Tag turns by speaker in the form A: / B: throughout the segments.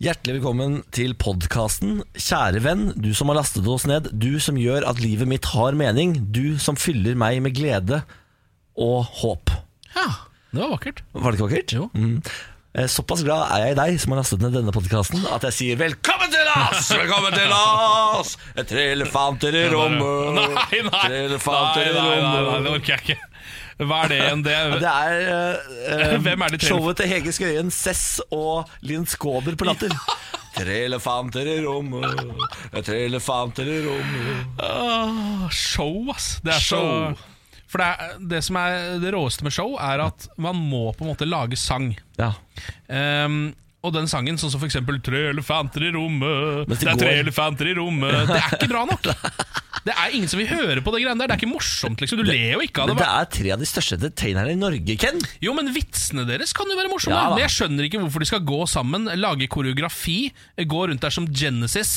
A: Hjertelig velkommen til podkasten. Kjære venn, du som har lastet oss ned. Du som gjør at livet mitt har mening. Du som fyller meg med glede og håp.
B: Ja, det var vakkert.
A: Var det ikke vakkert?
B: Jo.
A: Mm. Eh, Såpass glad er jeg i deg som har lastet ned denne podkasten, at jeg sier velkommen til oss! Velkommen til oss! Tre elefanter i rommet.
B: Nei, nei,
A: øh, Tre
B: nei, nei,
A: elefanter i
B: nei, nei, nei, det
A: rommet.
B: orker jeg ikke. Hva er det igjen? Det er,
A: Det er, eh, eh,
B: Hvem er de tre-
A: showet til Hege Skøyen, Cess og Linn Skåber på Latter. Tre elefanter i rommet, det er tre elefanter i rommet.
B: Åh, show, ass. Det er så,
A: Show.
B: for det, er, det som er det råeste med show, er at man må på en måte lage sang.
A: Ja.
B: Ehm, og den sangen, sånn som for eksempel 'Tre elefanter i rommet',
A: Mens
B: det,
A: de
B: er tre
A: går.
B: elefanter i rommet Det er ikke bra nok. Det er ingen som vil høre på det greiene der. Det er ikke morsomt, liksom. Du ler jo ikke av
A: Men
B: det.
A: det er tre av de største entertainerne i Norge, Ken.
B: Jo, men vitsene deres kan jo være morsomme.
A: Ja, da.
B: men jeg skjønner ikke hvorfor de skal gå sammen, lage koreografi, gå rundt der som Genesis,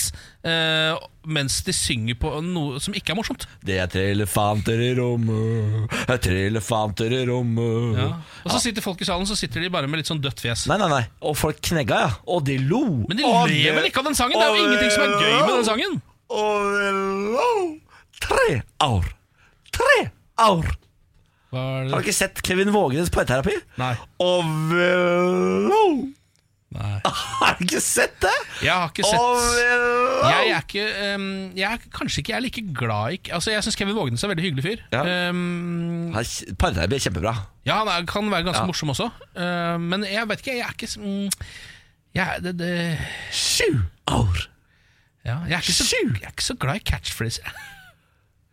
B: eh, mens de synger på noe som ikke er morsomt.
A: Det er tre elefanter i rommet, det er tre elefanter i rommet.
B: Og så sitter folk i salen så sitter de bare med litt sånn dødt fjes.
A: Nei, nei, nei. Og folk knegga, ja. Og de lo.
B: Men de
A: Og
B: ler vel ikke av den sangen? Det er jo
A: og
B: ingenting som er
A: de
B: gøy med
A: lo.
B: den sangen.
A: Og de lo. Tre år. Tre år.
B: Hva er
A: Har
B: det?
A: du ikke sett Kevin Vågenes parterapi?
B: Nei.
A: Og de lo.
B: Nei.
A: Har du ikke sett det?
B: Jeg har ikke
A: Og
B: sett
A: de lo.
B: jeg er ikke ehm, jeg er, Kanskje ikke jeg er like glad i Altså Jeg syns Kevin Vågenes er en veldig hyggelig fyr.
A: Ja.
B: Ehm,
A: Han er- Parterapi er kjempebra.
B: Ja, han er, kan være ganske
A: Ja.
B: morsom også. Eh, men jeg vet ikke, jeg er ikke så- mm, jeg, er- det, det,
A: Sju år.
B: ja, jeg, er ikke så,
A: Sju!
B: jeg er ikke så glad i catchphraser.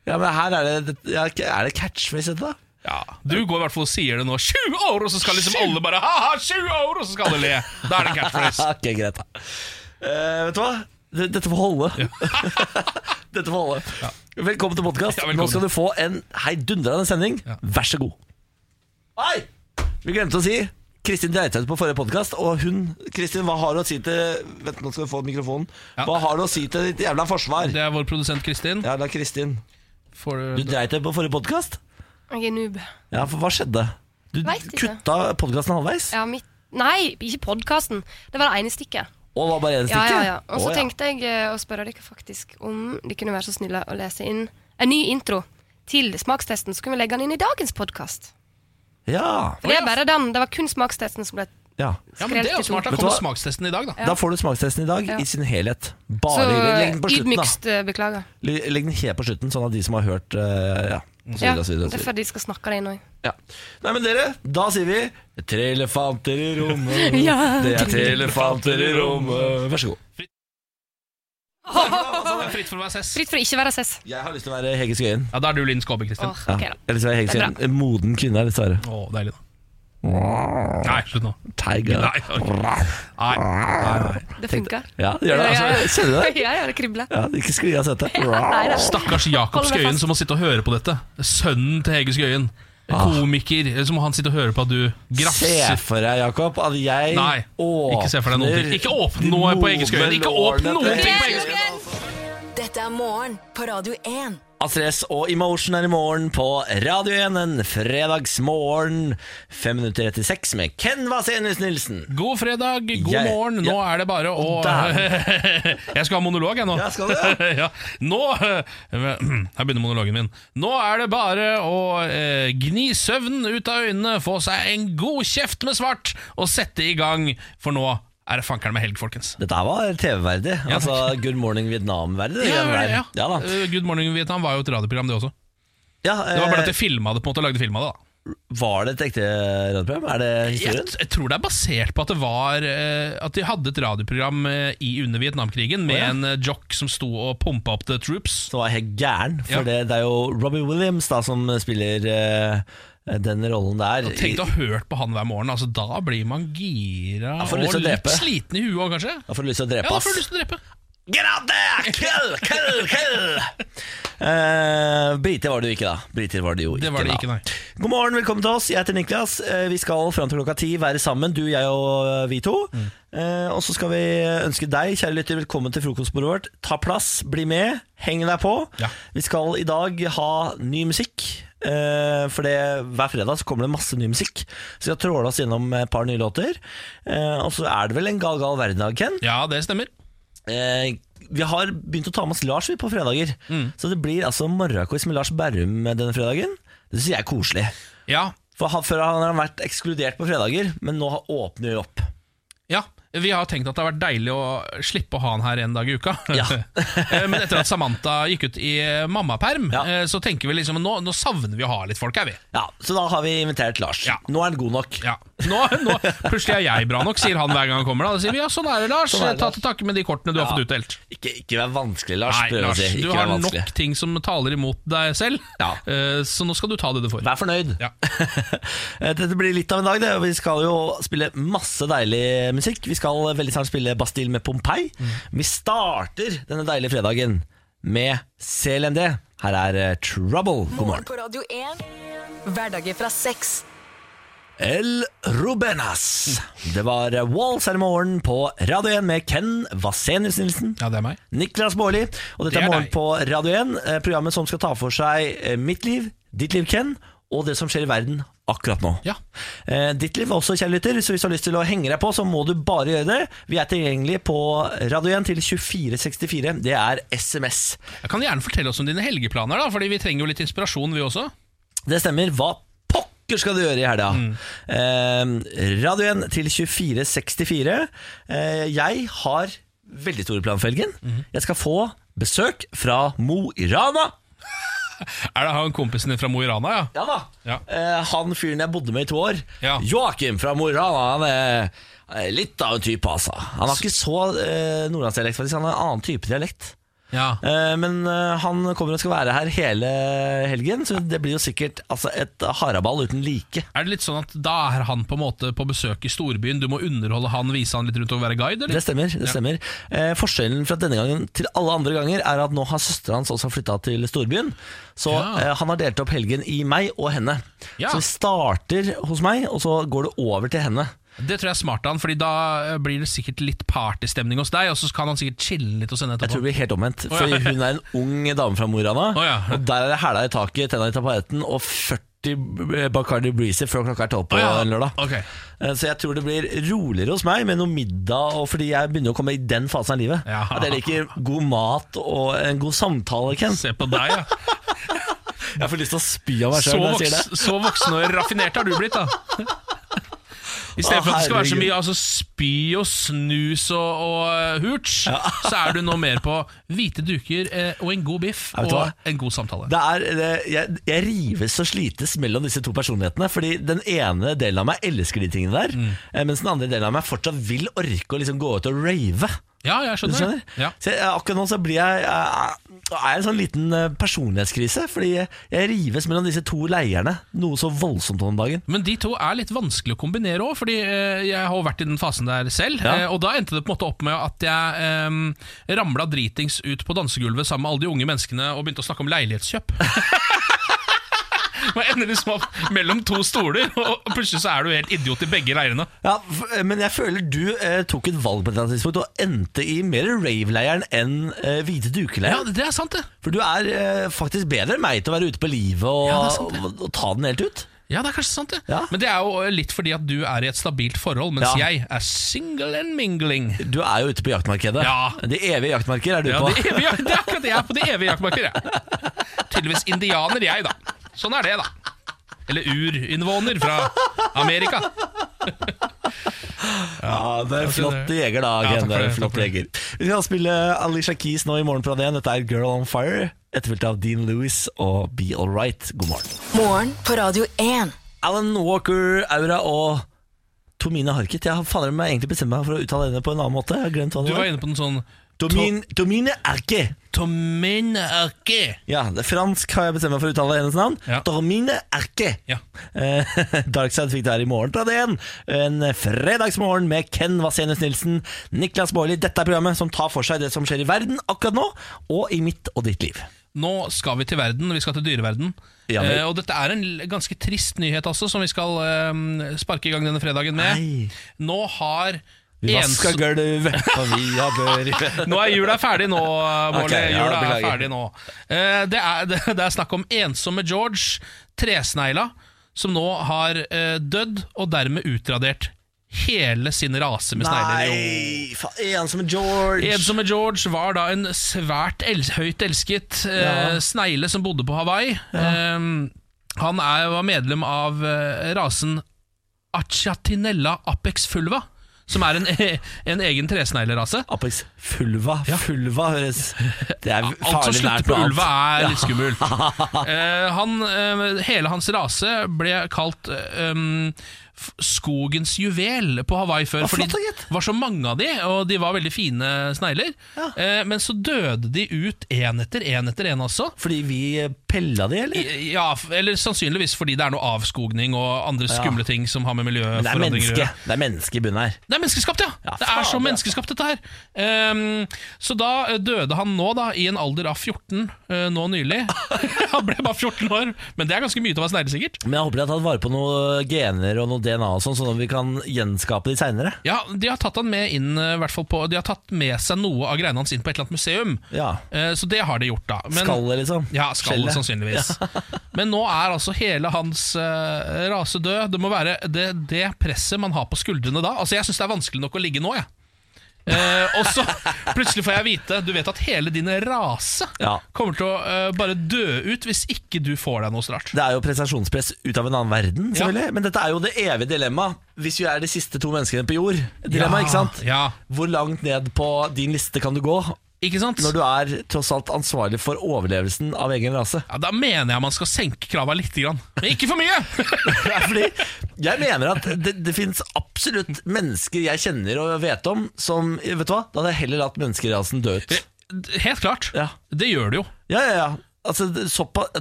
A: Ja, men her er det ja, Er det catchphrase dette da?
B: Ja, du går i hvert fall og sier det nå. Sju år! Og så skal liksom alle bare ha-ha, sju år! Og så skal alle le. Da er det catchphrase.
A: ok, greit da Eh, Vet du hva? D- Dette får holde Dette får holde Velkommen til podcast
B: Ja,
A: Nå
B: velkommen.
A: skal du få en heidundrende sending
B: Ja.
A: Vær så god Hei! Vi glemte å si Kristin Dreitaut på forrige podcast Og hun, Kristin, hva har du å si til Vent, nå skal du få mikrofonen
B: Ja.
A: Hva har du å si til ditt jævla forsvar?
B: Det er vår produsent Kristin.
A: Ja, da Kristin
B: Får
A: Du
B: du-
A: dreit deg på forrige podcast
C: Jeg er noob.
A: Ja, for hva skjedde? Du
C: Vet ikke.
A: kutta podcasten halvveis
C: Ja, mitt Nei, ikke podkasten. Det var det ene stykket.
A: Og var bare en
C: Ja,
A: stykke
C: ja, ja. Og så
A: Å,
C: tenkte jeg eh, å spørre dere faktisk om de kunne være så snille å lese inn en ny intro til smakstesten, så kunne vi legge den inn i dagens podkast.
A: ja.
C: For det er bare den. Det var kun smakstesten som ble
A: ja.
B: Ja, men Det er jo
C: skrelt i
B: smart.
C: to.
B: Da
A: Vet du
B: kommer
A: hva?
B: smakstesten i dag, da.
A: Da får du smakstesten i dag
C: Ja.
A: i sin helhet. Bare
C: Så
A: legg den på
C: eh,
A: slutten, da.
C: ydmykst eh, beklager.
A: Le- Legg den helt på slutten, sånn at de som har hørt eh, Ja. og så videre, og
C: Ja,
A: så videre, og så videre.
C: derfor de skal snakke det inn òg.
A: Ja. Nei, men dere, da sier vi Tre elefanter i rommet,
C: Ja.
A: det er tre elefanter i rommet. Vær så god.
B: Det er Fritt for å være sess.
C: Fritt for å ikke være sess.
A: Jeg har lyst til å være Hege Skøyen.
B: Ja, Da er du Linn Skåbe, Kristin.
C: Åh,
B: Å,
A: Ja.
C: ok da.
A: Jeg har lyst til å være Hege
C: Det er
A: Skøyen. En moden kvinne, dessverre.
B: deilig, da. Nei, slutt nå.
A: Tiger.
B: Nei, ok. nei, nei, nei.
C: Det funker.
A: Ja, det gjør det.
C: Ja, ja, ja.
A: Altså, kjenner du det?
C: Ja, ja, det kribler.
A: Ja, ikke skli av setet.
C: Nei, det er-
B: Stakkars Jakob
C: Hold meg
B: Skøyen
C: fast.
B: som må sitte og høre på dette. Sønnen til Hege Skøyen. Komiker. Eh, Så må han sitte og høre på at du
A: Ah. Se
B: grafser.
A: for deg, Jakob, at jeg
B: Nei, ikke se for deg noen ting.
A: åpner
B: Ikke åpne
A: de
B: noe på Hege
A: modne
B: Skøyen. Ikke åpne
A: lårene
B: noen
A: til
B: ting på
A: Hege
B: Hege Skøyen.
D: Dette er morgen på Radio 1.
A: Astres og Emotion er i morgen på Radio 1 en fredagsmorgen. Fem minutter etter seks med Ken Vasenius Nilsen.
B: God fredag, god
A: Jeg-
B: morgen. Nå
A: ja.
B: er det bare å Jeg skal ha monolog, jeg nå.
A: Ja, skal du det?
B: ja. Nå Her begynner monologen min. Nå er det bare å eh, gni søvnen ut av øynene, få seg en god kjeft med svart, og sette i gang, for nå er det fankeren med helg, folkens.
A: Dette her var TV-verdig.
B: Ja,
A: altså Good Morning Vietnam-verdig. det
B: Ja,
A: greiene
B: ja,
A: der. ja
B: ja.
A: da.
B: Eh, Good Morning Vietnam var jo et radioprogram, det også.
A: Ja,
B: Det var bare
A: eh,
B: at de filma det på en måte og lagde film av det. da
A: var det et ekte radioprogram? Er det
B: jeg,
A: historien?
B: jeg tror det er basert på at det var eh, At de hadde et radioprogram eh, i under Vietnamkrigen med
A: Å, ja.
B: en eh, jock som sto og pumpa opp the troops.
A: Som var helt gæren. For
B: Ja.
A: det, det er jo Robbie Williams da som spiller eh, den rollen der.
B: Tenk
A: I-
B: deg å ha hørt på han hver morgen. Altså, da blir man gira
A: Da får du
B: og
A: lyst
B: litt
A: til å drepe.
B: sliten i huet òg, kanskje.
A: Da får du lyst til å
B: Ja,
A: drepe,
B: da
A: ass.
B: får du lyst til å drepe.
A: Get out there! Kill, kill, kill! Eh, briter var det jo ikke, da. Briter var det jo ikke,
B: Det var det ikke,
A: da.
B: nei.
A: God morgen, velkommen til oss. Jeg heter Niklas. Eh, vi skal fram til klokka ti være sammen, du, jeg og eh, vi to. Eh, og så skal vi ønske deg, kjære lytter, velkommen til frokostbordet vårt. Ta plass, bli med, heng deg på.
B: Ja.
A: Vi skal i dag ha ny musikk. Eh, for det, hver fredag så kommer det masse ny musikk. Så vi har tråla oss gjennom et par nye låter. Eh, og så er det vel en gal, gal verden i dag, Ken.
B: Ja, det stemmer.
A: Eh, vi har begynt å ta med oss Lars vi, på fredager. Så det blir altså morgenquiz med Lars Berrum denne fredagen. Det syns jeg er koselig.
B: Ja,
A: For han, Før han har han vært ekskludert på fredager, men nå har- åpner vi opp.
B: Ja, vi har tenkt at det har vært deilig å slippe å ha han her en dag i uka.
A: Ja.
B: Eh, Men etter at Samantha gikk ut i eh, mammaperm,
A: Ja.
B: eh, så tenker vi liksom nå, nå savner vi å ha litt folk her, vi.
A: Ja, Så da har vi invitert Lars.
B: Ja.
A: Nå er han god nok.
B: Ja. Nå, nå, plutselig er jeg bra nok, sier han hver gang han kommer. Da Da sier vi ja, sånn er det, Lars.
A: Sånn er det,
B: Ta
A: Lars.
B: til takke med de kortene du har
A: Ja.
B: fått utdelt.
A: Ikke, ikke vær vanskelig, Lars.
B: Nei,
A: prøver jeg å
B: Lars,
A: si. Ikke
B: du
A: vær
B: har
A: vanskelig.
B: nok ting som taler imot deg selv,
A: Ja.
B: Eh, så nå skal du ta det du får.
A: Vær fornøyd.
B: Ja.
A: Dette blir litt av en dag. Det. Vi skal jo spille masse deilig musikk. Vi skal veldig snart spille Bastille med Pompeii.
B: Mm.
A: Vi starter denne deilige fredagen med CLMD. Her er eh, Trouble. God
D: Morgen
A: morgen.
D: på Radio 1. Hverdager fra seks.
A: El Rubenas. Det var Walls her i morgen på Radio 1 med Ken Vasenius Nilsen.
B: ja, det er meg.
A: Niklas Baarli. Og dette
B: Det
A: er,
B: er
A: Morgen
B: deg.
A: på Radio 1, eh, programmet som skal ta for seg eh, mitt liv, ditt liv, Ken, og det som skjer i verden akkurat nå.
B: Ja.
A: Eh, Ditt liv også, kjære lytter, så hvis du har lyst til å henge deg på, så må du bare gjøre det. Vi er tilgjengelige på Radio 1 til 2464. Det er SMS.
B: Jeg kan gjerne fortelle oss om dine helgeplaner, da, Fordi vi trenger jo litt inspirasjon, vi også.
A: Det stemmer. Hva pokker skal du gjøre i helga?
B: Mm.
A: Eh, Radio 1 til 2464. Eh, jeg har veldig store planer for helgen.
B: Mhm.
A: Jeg skal få besøk fra Mo i Rana.
B: Er det han kompisen din fra Mo i Rana, ja?
A: Ja da.
B: Ja.
A: Eh, han fyren jeg bodde med i to år,
B: Ja.
A: Joakim fra Mo i Rana, han er han er litt av en type, altså. Han har ikke så eh, nordlandsdialekt, faktisk. Han har en annen type dialekt.
B: ja.
A: Eh, men eh, han kommer og skal være her hele helgen, så det blir jo sikkert altså, et haraball uten like.
B: Er det litt sånn at da er han på en måte på besøk i storbyen, du må underholde han, vise han litt rundt og være guide,
A: Det
B: eller?
A: stemmer. det stemmer eh, Forskjellen fra denne gangen til alle andre ganger er at nå har søstera hans også flytta til storbyen. Så
B: Ja.
A: eh, han har delt opp helgen i meg og henne.
B: Ja.
A: Så vi starter hos meg, og så går det over til henne.
B: Det, tror jeg er smart av han, Fordi da eh, blir det sikkert litt partystemning hos deg, og så kan han sikkert chille litt hos henne
A: Jeg tror
B: etterpå.
A: det blir helt omvendt.
B: ja.
A: Fordi hun er en ung dame fra Morana.
B: Å ja.
A: Og der er det hæla i taket, tenna i tapetten og 40 Bacardi Breezy før klokka er tolv på
B: Å ja,
A: en lørdag.
B: ok.
A: Eh, Så jeg tror det blir roligere hos meg med noe middag, og fordi jeg begynner å komme i den fasen av livet.
B: Ja.
A: At jeg liker god mat og en god samtale, Ken.
B: Se på deg, ja.
A: Jeg får lyst til å spy av meg
B: Så,
A: sjøl når jeg sier det.
B: voks, så voksen og raffinert har du blitt, da. I
A: Å,
B: stedet for at det skal være så
A: herregud.
B: mye altså, spy og snus og, og eh, hooch, så er du nå mer på hvite duker eh, og en god biff
A: Ja, vet du
B: og
A: hva?
B: en god samtale.
A: Det er, det, jeg, jeg rives og slites mellom disse to personlighetene. Fordi den ene delen av meg elsker de tingene der,
B: Mm.
A: eh, mens den andre delen av meg fortsatt vil orke å liksom gå ut og rave.
B: Ja, jeg
A: Du
B: skjønner.
A: skjønner?
B: Ja.
A: Så jeg, akkurat nå så blir jeg, jeg, jeg er i en sånn liten eh, personlighetskrise, fordi jeg, jeg rives mellom disse to leirene noe så voldsomt om dagen.
B: Men de to er litt vanskelig å kombinere òg, fordi eh, jeg har jo vært i den fasen der selv.
A: Ja.
B: eh, og da endte det på en måte opp med at jeg eh, ramla dritings ut på dansegulvet sammen med alle de unge menneskene og begynte å snakke om leilighetskjøp. Man ender liksom opp mellom to stoler, og plutselig så er du helt idiot i begge leirene.
A: Ja, f men jeg føler du eh, tok et valg på et eller annet tidspunkt og endte i mer rave-leiren enn eh, hvite
B: Ja,
A: duke-leiren.
B: det er sant, det.
A: For du er eh, faktisk bedre enn meg til å være ute på livet og,
B: Ja, det er sant, det.
A: og, og ta den helt ut.
B: Ja, det er kanskje sant, det.
A: Ja.
B: Men det er jo eh, litt fordi at du er i et stabilt forhold, mens
A: Ja.
B: jeg er single and mingling.
A: Du er jo ute på jaktmarkedet.
B: Ja.
A: De evige jaktmarker er du
B: Ja,
A: på.
B: det, er evig, det er akkurat det jeg er på de evige jaktmarker. jeg. Tydeligvis indianer, jeg, da. Sånn er det, da. Eller urinnvåner fra Amerika.
A: Ja, det er en
B: Ja,
A: flott
B: det-
A: jeger da,
B: Ja,
A: Ken. det
B: takk for
A: er en
B: det,
A: flott
B: takk for det.
A: jeger. Vi skal spille Alicia Keys nå i morgen på Radio 1. Dette er Girl on Fire, etterfulgt av Dean Lewis og Be All Right. God morgen.
D: Morgen på Radio 1.
A: Alan Walker, Aura og Tomine Harket. Jeg har fader meg egentlig bestemt meg for å uttale henne på en annen måte. Jeg har glemt hva
B: Du
A: det
B: var
A: var.
B: inne på den sånn
A: Tomin, Tomine Erke.
B: Tominarki.
A: Ja, det er fransk har jeg bestemt meg for å uttale hennes navn.
B: Ja.
A: Tomine Erke.
B: Ja.
A: Eh, Darkside fikk det her i morgen på Radio 1. En fredagsmorgen med Ken Vasenius Nilsen, Niklas Baarli. Dette er programmet som tar for seg det som skjer i verden akkurat nå, og i mitt og ditt liv.
B: Nå skal vi til verden, vi skal til dyreverden.
A: Ja, vel.
B: eh, og dette er en l- ganske ehm, trist nyhet altså, som vi skal eh, sparke i gang denne fredagen med.
A: Nei.
B: Nå har
A: Vi vasker
B: Ens-
A: gulvet, og vi har bør
B: Nå er jula ferdig nå, Bård.
A: Ok, ja,
B: jula er
A: beklager.
B: ferdig nå. Eh, Det er, det det er snakk om ensomme George, tresnegla, som nå har eh, dødd og dermed utradert hele sin rase med snegler. Jo.
A: Nei, faen, ensomme George.
B: Ensomme George var da en svært el høyt elsket eh,
A: Ja.
B: snegle som bodde på Hawaii. Eh, han er, var medlem av eh, rasen Achatinella apex fulva, som er en, en egen tresneglerase.
A: Apex fulva. Fulva høres Det er
B: Alt som
A: farlig
B: slutter
A: nært
B: på
A: noe
B: ulva
A: annet.
B: er litt skummelt. Eh, han, eh, hele hans rase ble kalt eh, um, f- skogens juvel på Hawaii før.
A: Hva
B: fordi
A: flott, da, gitt.
B: det var så mange av de, og de var veldig fine snegler. Eh, men så døde de ut én etter én etter én også.
A: Fordi vi eh, pella de, eller?
B: I- Ja, f- eller sannsynligvis fordi det er noe avskogning og andre skumle ting som har med
A: Men det er
B: miljøforandringer å
A: menneske.
B: gjøre.
A: Det er menneske i bunnen her.
B: Det er menneskeskapt, ja!
A: Ja,
B: det er så
A: fader,
B: menneskeskapt, dette her. Ehm, så da eh, døde han nå, da, i en alder av 14, eh, nå nylig. han ble bare 14 år, men det er ganske mye til å være snegle, sikkert.
A: Men jeg håper de har tatt vare på noen gener og noe DNA, og sånn Sånn at vi kan gjenskape de seinere.
B: Ja, De har tatt han med inn, eh, i hvert fall på De har tatt med seg noe av greiene hans inn på et eller annet museum.
A: Ja.
B: Eh, så det har de gjort, da. Men-
A: Skallet, liksom.
B: Ja, skallet
A: Skjellet.
B: sannsynligvis. Men nå er altså hele hans eh, rase død. Det må være det, det presset man har på skuldrene da. Altså Jeg syns det er vanskelig nok å ligge nå, jeg. Eh, og så plutselig får jeg vite Du vet at hele din rase
A: Ja.
B: kommer til å eh, bare dø ut hvis ikke du får deg noe snart.
A: Det er jo prestasjonspress ut av en annen verden,
B: Ja.
A: selvfølgelig. Men dette er jo det evige dilemmaet. Hvis vi er de siste to menneskene på jord, dilemma,
B: Ja,
A: ikke sant?
B: Ja,
A: Hvor langt ned på din liste kan du gå
B: ikke sant?
A: når du er tross alt ansvarlig for overlevelsen av egen rase?
B: ja, da mener jeg man skal senke krava litt, grann. men ikke for mye!
A: Det er Fordi jeg mener at det, det finnes absolutt mennesker jeg kjenner og vet om som Vet du hva, da hadde jeg heller latt menneskerasen dø ut.
B: Helt klart.
A: Ja.
B: Det gjør det jo.
A: Ja, ja, ja. Altså, det- såpass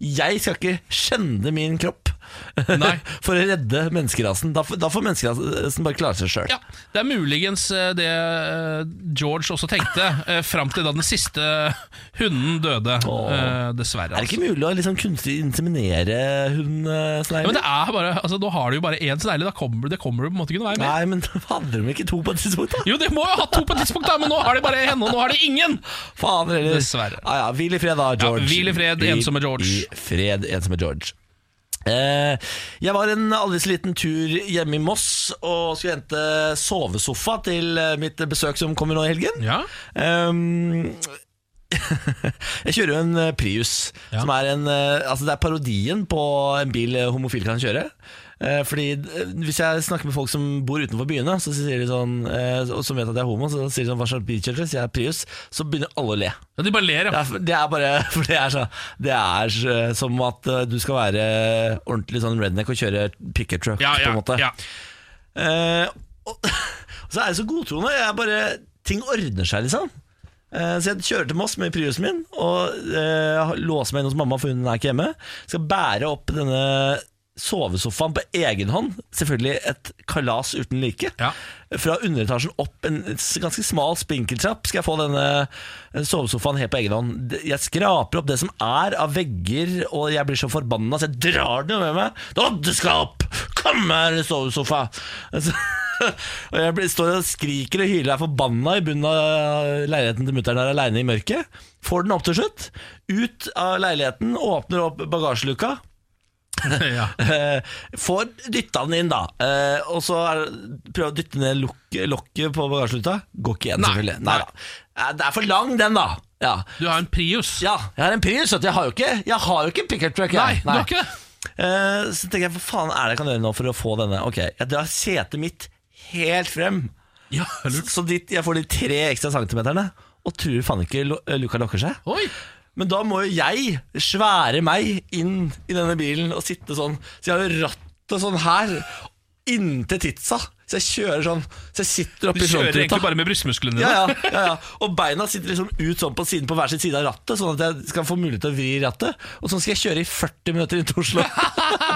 A: Jeg skal ikke skjende min kropp
B: Nei.
A: for å redde menneskerasen. Da, får- da får menneskerasen bare klare seg sjøl.
B: Ja, Det er muligens eh, det eh, George også tenkte, eh, fram til da den siste hunden døde. eh, Dessverre.
A: Er det
B: Altså.
A: ikke mulig å liksom kunstig inseminere hun eh,
B: Ja, men det
A: Snegle?
B: er bare, altså, Nå har du jo bare én snegle, da kommer du, det kommer du på en måte ikke noen vei med.
A: Nei, men hadde de ikke to på et tidspunkt, da?
B: Jo, det må jo ha to på et tidspunkt, da, men nå har de bare henne, og nå har de ingen!
A: Faen heller.
B: Dessverre.
A: Ja, ja, hvil i fred, da, George.
B: Ja, hvil i fred, ensomme George.
A: I fred, ensomme George. Eh, jeg var en aldri så liten tur hjemme i Moss og skulle hente sovesofa til eh, mitt besøk som kommer nå i helgen.
B: Ja,
A: Ehm, jeg kjører jo en eh, Prius,
B: Ja.
A: som er en eh, Altså det er parodien på en bil eh, homofile kan kjøre. Eh, Fordi eh, Hvis jeg snakker med folk som bor utenfor byene, Så sier de sånn eh, og som vet at jeg er homo, Så sier de sånn hva slags bil kjører du? Sier jeg Prius, så begynner alle å le.
B: ja De bare ler,
A: Det
B: ja.
A: er, det er bare For det er, så, det er så- som at eh, du skal være ordentlig sånn redneck og kjøre picket truck,
B: Ja,
A: på en måte.
B: ja, ja.
A: Eh, og, og så er jeg så godtroende. Jeg bare, ting ordner seg, liksom. Eh, så jeg kjører til Moss med Priusen min og eh, låser meg inn hos mamma, for hun er ikke hjemme. Skal bære opp denne sovesofaen på egen hånd. Selvfølgelig et kalas uten like.
B: Ja.
A: Fra underetasjen opp en s- ganske smal spinkeltrapp skal jeg få denne eh, sovesofaen helt på egen hånd. D- Jeg skraper opp det som er av vegger, og jeg blir så forbanna, så jeg drar den jo med meg. Doddeskap! Kom her, sovesofa! Altså, og jeg blir, står og skriker og hyler, er forbanna i bunnen av leiligheten til mutter'n der aleine i mørket. Får den opp til slutt. Ut av leiligheten, åpner opp bagasjeluka.
B: ja.
A: Eh, får dytta den inn, da. Eh, og så er, det- prøver å dytte ned lokk- lokket på bagasjeruta. Går ikke igjen,
B: Nei,
A: selvfølgelig.
B: nei.
A: Nei, da. Eh, Det er for lang, den, da. Ja.
B: Du har en Prius.
A: ja jeg har en Prius, vet du. Jeg har jo ikke, jeg har jo ikke pickup truck. jeg.
B: Nei, du har ikke det?
A: Eh, så tenker jeg, hva faen er det jeg kan gjøre nå for å få denne? Ok, jeg drar setet mitt helt frem.
B: Ja, lurt.
A: Så dit, jeg får de tre ekstra centimeterne. Og tror faen ikke lo- Luca lokker seg.
B: Oi!
A: Men da må jo jeg, svære meg, inn i denne bilen og sitte sånn. Så jeg har jo rattet sånn her, inntil titsa. Så jeg kjører sånn, så jeg sitter
B: Du
A: oppe i
B: kjører egentlig
A: frontruta.
B: bare med brystmusklene dine.
A: Ja, ja, ja, ja. Og beina sitter liksom ut sånn på siden på hver sin side av rattet, sånn at jeg skal få mulighet til å vri rattet. Og sånn skal jeg kjøre i 40 minutter inn til Oslo. så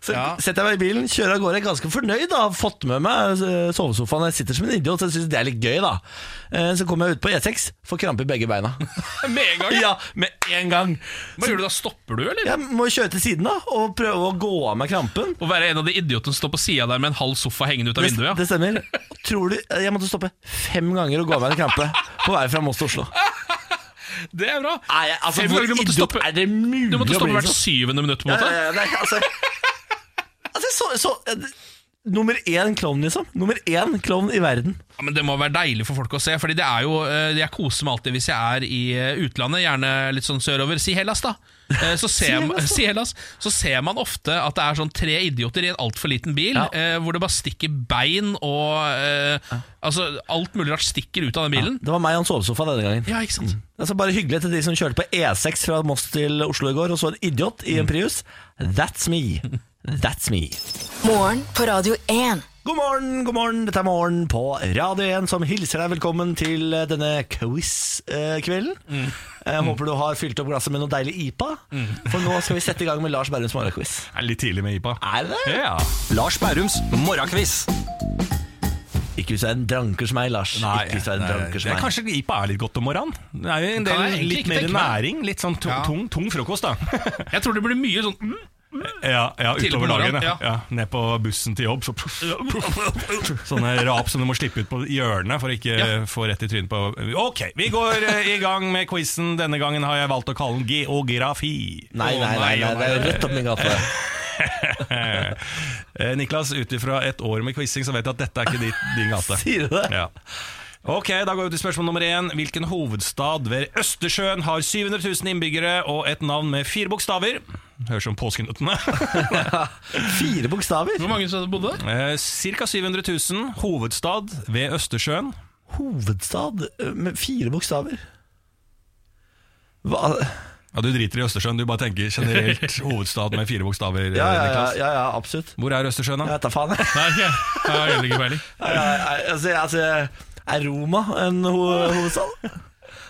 A: Så
B: Ja.
A: setter jeg meg i bilen, kjører av gårde, ganske fornøyd. da Har fått med meg eh, sovesofaen. Jeg sitter som en idiot, så jeg syns det er litt gøy, da. Eh, Så kommer jeg ut på E6, får krampe i begge beina.
B: Med en gang.
A: Ja, med en gang.
B: Hva gjør du da? Stopper du, eller?
A: Jeg må kjøre til siden da og prøve å gå av meg krampen.
B: Å være en av de idiotene som står på sida der med en halv sofa hengende ut av
A: Det,
B: vinduet?
A: det stemmer. Tror du Jeg måtte stoppe fem ganger og gå av meg en krampe på vei fra Moss til Oslo.
B: Ja. Det er bra.
A: Nei, jeg- altså,
B: Fem
A: hvor
B: ganger du måtte
A: idiot
B: stoppe-
A: er det mulig
B: Du
A: å
B: måtte stoppe
A: bli
B: hvert
A: sånn?
B: syvende minutt, på en
A: Ja,
B: måte.
A: ja, ja, det er, altså, altså så, så, eh, det- Nummer én klovn, liksom. Nummer én klovn i verden.
B: Ja, men Det må være deilig for folk å se. Fordi det er jo, eh, Jeg koser meg alltid hvis jeg er i eh, utlandet, gjerne litt sånn sørover. Si Hellas, da. Eh, Så ser, man, si Hellas, så ser man ofte at det er sånn tre idioter i en altfor liten bil,
A: Ja.
B: eh, hvor det bare stikker bein og eh, altså, alt mulig rart stikker ut av den bilen.
A: Det var meg og en sovesofa denne gangen.
B: Ja, ikke sant?
A: Altså Bare hyggelig til de som kjørte på E6 fra Moss til Oslo i går og så en idiot
B: Mm.
A: i en Prius. That's me. That's me.
D: Morgen på Radio 1.
A: God morgen, god morgen. Dette er Morgen på Radio 1 som hilser deg velkommen til eh, denne quiz-kvelden. Jeg håper du har fylt opp glasset med noe deilig IPA, for nå skal vi sette i gang med Lars Berrums morgenquiz.
E: er litt tidlig med IPA.
A: Er det?
E: Ja.
F: Lars Bærums morgenkviss.
A: Ikke hvis du er en dranker som meg, Lars. Ikke hvis du er en dranker som
E: det er
A: meg.
E: kanskje IPA er litt godt om morgenen. Det er jo
B: Kan
E: en del
B: jeg egentlig
E: litt
B: ikke
E: mer
B: tenke meg.
E: næring. Litt sånn tung,
B: Ja.
E: tung, tung frokost, da.
B: Jeg tror det blir mye sånn mm,
E: ja, ja,
B: Tidlig på
E: utover dagen.
B: morgenen,
E: Ja.
B: ja.
E: Ja, ned på bussen til jobb, så puff, puff. Sånne rap som du må slippe ut på hjørnet for å ikke
B: Ja.
E: få rett i trynet på Ok, vi går eh, i gang med quizen. Denne gangen har jeg valgt å kalle den geografi.
A: Nei, nei, nei, nei, det er jo rett opp min gate.
E: Eh, Niklas, ut ifra et år med quizing, så vet jeg at dette er ikke ditt, din gate.
A: Sier du det?
E: Ja. Ok, Da går vi til spørsmål nummer én. Hvilken hovedstad ved Østersjøen har 700 000 innbyggere og et navn med fire bokstaver? Høres som påskenøttene.
A: Fire bokstaver.
B: Hvor mange som bodde der?
E: Eh, Cirka 700 000. Hovedstad ved Østersjøen.
A: Hovedstad eh, med fire bokstaver. Hva?
E: Ja, Du driter i Østersjøen, du bare tenker generelt hovedstad med fire bokstaver.
A: Ja,
E: eh,
A: ja, ja,
E: Niklas.
A: ja, ja absolutt.
E: Hvor er Østersjøen,
A: Jeg
E: da?
A: vet da faen, jeg.
B: Nei, jeg jeg har heller ikke peiling.
A: Nei, nei, altså, altså, er Roma en ho hovedstad?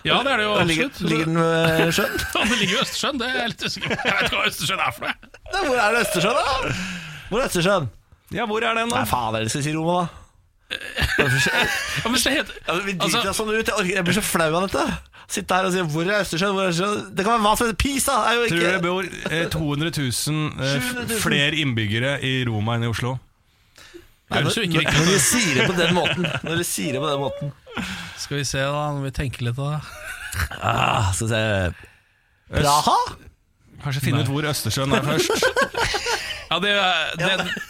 B: Ja, det er det jo
A: Ligger,
B: absolutt.
A: ligger den ved sjøen?
B: Ja, det ligger i Østersjøen, det er jeg litt usikker på. Jeg vet ikke hva Østersjøen er for noe.
A: Nei, hvor er det Østersjøen, da? Hvor er Østersjøen?
E: Ja, hvor er den, da?
A: Nei, faen, jeg skal si Roma, da.
B: Ja, men det heter,
A: Altså, vi driter
B: Altså-
A: oss sånn ut. Jeg, orker, jeg blir så flau av dette. Sitte her og si 'hvor er Østersjøen', hvor er Østersjøen? Det kan være hva som helst. Pisa er jo
E: Tror du det
A: ikke
E: bor eh, 200 000 eh, f-
A: 700 000.
E: flere innbyggere i Roma enn i Oslo?
B: høres jo ikke
A: Når
B: riktig ut.
A: når du sier det på den måten. Når du sier det på den måten
B: Skal vi se, da. Når vi tenker litt av det.
A: ah, Skal vi se Praha?
E: Kanskje finne ut hvor Østersjøen er først.
B: Ja, det, det,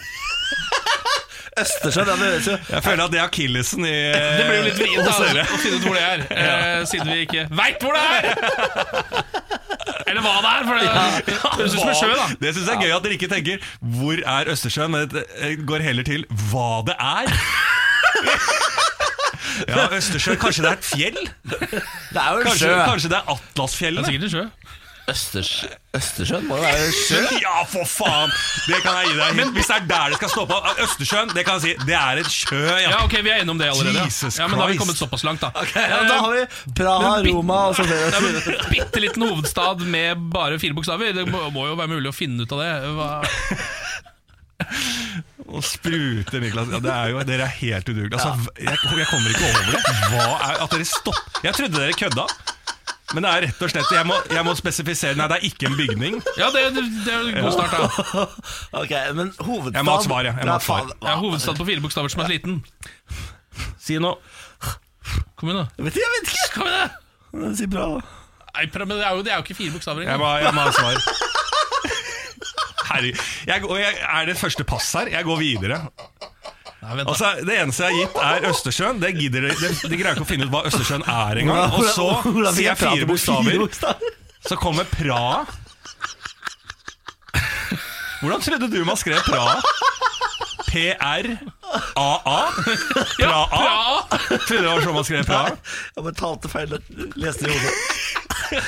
A: Østersjøen, ja, det høres jo
E: Jeg føler at det er akillesen i
B: det blir jo litt vrient da, å finne ut hvor det er, eh, siden vi ikke veit hvor det er! Eller hva det er, for det høres ut som en sjø, da.
E: Det syns jeg er gøy at dere ikke tenker 'hvor er Østersjøen', men det eh, går heller til 'hva det er'. Ja, Østersjøen. Kanskje det er et fjell?
A: Det er jo en
E: Kanskje,
A: sjø.
E: kanskje det er
B: Det er
E: Atlasfjellene?
B: sikkert en sjø.
A: Østers, Østersjøen må jo være en sjø.
E: Ja, for faen! Det kan jeg gi deg. Men hvis det er der det skal stå på, Østersjøen, det kan jeg si. Det er et sjø, ja.
B: Ja, ok, vi er innom det allerede. Ja,
E: Jesus
B: ja Men da har vi
E: Christ.
B: kommet såpass langt, da.
A: Ja, da har vi Praha,
B: Men bit-
A: Roma og så videre.
B: Bitte liten hovedstad med bare fire bokstaver. Det må, må jo være mulig å finne ut av det. Hva?
E: Og spruter Niklas ja, det er jo, Dere er helt udugelige altså, jeg, jeg kommer ikke over det Hva er, at dere stopp Jeg trodde dere kødda Men det er rett og slett Jeg må, jeg må spesifisere Nei, det er ikke en bygning
B: Ja, det, det, det er en god start, da.
A: Ok, men hovedstad
E: Jeg må ha et svar, jeg. Jeg må ha et svar.
B: Ja, hovedstad på fire bokstaver som er liten.
E: Si nå
B: Kom igjen, da.
A: Jeg vet ikke, jeg vet ikke
B: Kom igjen, da.
A: Si bra da
B: Nei, pra- men det er jo, det er jo ikke fire bokstaver
E: Jeg
B: engang.
E: må, ha- jeg må ha et svar Herregud jeg, og jeg, Er det første pass her? Jeg går videre
B: Nei, vent da.
E: Altså, det eneste jeg har gitt er Østersjøen Det gidder dere det, det greier ikke å finne ut hva Østersjøen er en gang Og så
A: Hvordan fikk
E: sier jeg
A: prate
E: fire
A: med
E: bokstaver
A: fire bokstaver?
E: Så kommer Praha. Hvordan trodde du man skrev Praha? P-R-A-A? Praha?
B: Bra!
E: Trodde det var sånn man skrev Praha?
A: Jeg bare talte feil og Leste i hodet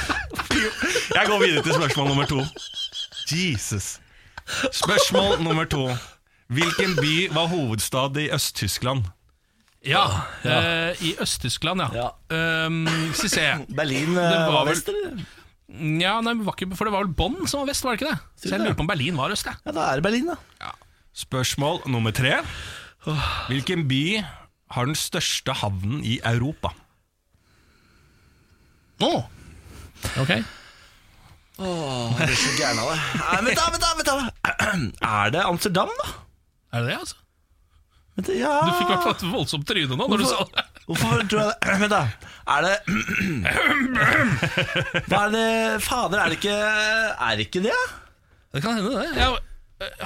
E: Jeg går videre til spørsmål nummer to. Jesus. Spørsmål nummer to. Hvilken by var hovedstad i Øst-Tyskland?
B: Ja, eh, i Øst-Tyskland, ja.
A: Ja.
B: Ehm, Skal vi se.
A: Berlin
B: Det
A: eh,
B: var
A: var
B: vel-
A: vest eller?
B: Ja, nei, men var ikke, for det var vel Bonn som var vest, var det ikke det? Så jeg
A: det.
B: lurer på om Berlin var øst, jeg.
A: Ja, da er det Berlin, da.
E: Spørsmål nummer tre. Hvilken by har den største havnen i Europa?
B: Å! Ok.
A: Nei, vent da, vent da, vent da. Er det Amsterdam, da?
B: Er det det, altså?
A: Vent, da, ja
B: Du fikk i hvert fall et voldsomt tryne nå når du sa
A: Hvorfor,
B: det.
A: hvorfor tror jeg det? Vent, da. Er det Hva er det Fader, er det ikke Er det ikke det?
B: Det kan hende, det. Jeg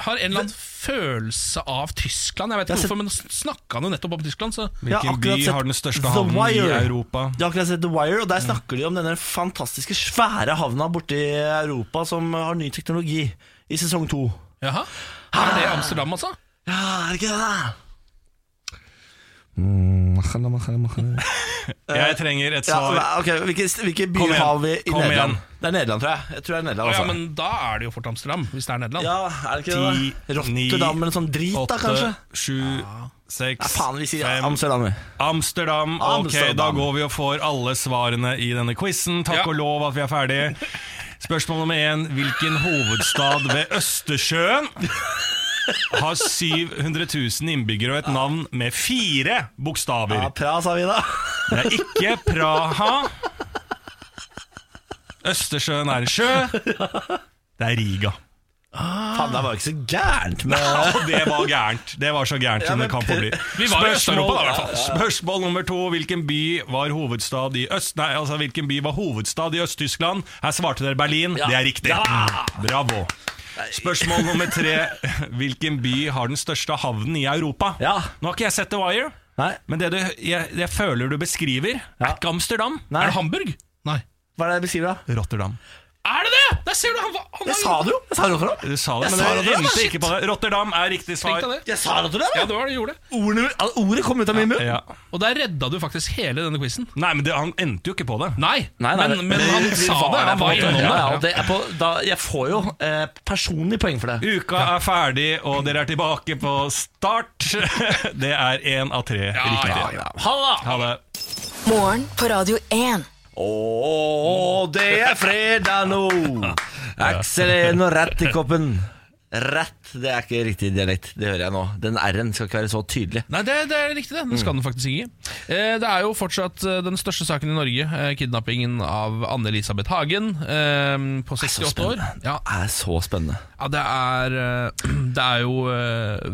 B: har en eller annen følelse av Tyskland. Jeg vet
A: Jeg har
B: ikke
A: sett-
B: hvorfor, men snakka han jo nettopp om Tyskland, så
A: Jeg
E: Hvilken by
A: akkurat sett
E: har den største
A: The
E: havnen
A: Wire.
E: i Europa?
A: Jeg har akkurat sett The Wire, og der snakker de om denne fantastiske, svære havna borti Europa som har ny teknologi i sesong to.
B: Jaha. Er det Amsterdam, altså?
A: Ja, er det ikke det, da?
E: Jeg trenger et
A: Ja,
E: svar.
A: ok, hvilke, hvilke byer
E: Kom igjen.
A: har vi i
E: Kom
A: Nederland?
E: igjen.
A: Det er Nederland, tror jeg. Jeg tror det er Nederland
B: Å ja,
A: altså.
B: men da er det jo fort Amsterdam, hvis det er Nederland.
A: Ja, er det ikke det? da?
E: Ti,
A: Rotterdam
E: ni,
A: eller noe sånn drit, da, kanskje?
E: Åtte, sju,
A: Ja,
E: seks,
A: faen, vi sier
E: fem
A: Amsterdam. vi.
E: Amsterdam. Ok,
A: Amsterdam.
E: da går vi og får alle svarene i denne quizen. Takk
B: Ja.
E: og lov at vi er ferdige. Spørsmål nummer én. Hvilken hovedstad ved Østersjøen har 700 000 innbyggere og et navn med fire bokstaver?
A: Ja, Pra, sa vi da.
E: Det er ikke Praha. Østersjøen er en sjø. Det er Riga.
A: Faen, det var ikke så gærent med
E: Og det var gærent. Det var så gærent som det kan få bli.
B: Vi var i Øst-Europa da, i hvert fall.
E: Spørsmål nummer to. Hvilken by var hovedstad i Øst... Nei, altså, hvilken by var hovedstad i Øst-Tyskland? Her svarte dere Berlin. Det er riktig. Mm, Bravo. Spørsmål nummer tre. Hvilken by har den største havnen i Europa?
A: Ja.
E: Nå har ikke jeg sett The Wire,
A: Nei,
E: men det du, jeg, jeg føler du beskriver, er ikke Amsterdam.
A: nei.
B: Er det Hamburg? Nei.
A: Hva er det jeg beskriver, da?
E: Rotterdam.
B: Er det det?! Der ser du! Han var, han var
A: Jeg sa det jo! Jeg sa det også.
E: Du sa
A: Jeg
E: det, men
A: sa
E: det
A: Rotterdam,
E: endte
A: shit.
E: ikke på det. Rotterdam er riktig
B: Tenk
E: svar.
B: deg det.
A: Jeg sa det til deg!
B: Ja,
A: da.
B: det var det du gjorde.
A: Ordene, al- ordet kom ut av min munn.
E: Ja.
B: Og der redda du faktisk hele denne quizen.
E: Nei, men det, han endte jo ikke på det.
B: Nei,
A: Nei, nei,
B: men,
A: det-
B: men han sa det.
E: var der
B: Han var
E: på en måte.
B: innom
A: Ja, ja, og det
B: det.
A: er på, da, jeg får jo eh, personlig poeng for det.
E: Uka er ferdig, og dere er tilbake på start. Det er én av tre riktige.
B: ja, ja. Ha det! da.
E: Ha det.
D: Morgen på Radio 1.
A: Ååå, det er fredag nå! Aksel er nå rett i koppen. Rett, det er ikke riktig dialekt. Det hører jeg nå. Den R-en skal ikke være så tydelig.
B: Nei, det, det er riktig, det. Det
A: Mm.
B: skal den faktisk ikke. Eh, det er jo fortsatt eh, den største saken i Norge. Eh, kidnappingen av Anne-Elisabeth Hagen eh, på 68 år.
A: spennende.
B: Ja,
A: Det er så spennende.
B: ja det, er, eh, det er jo eh,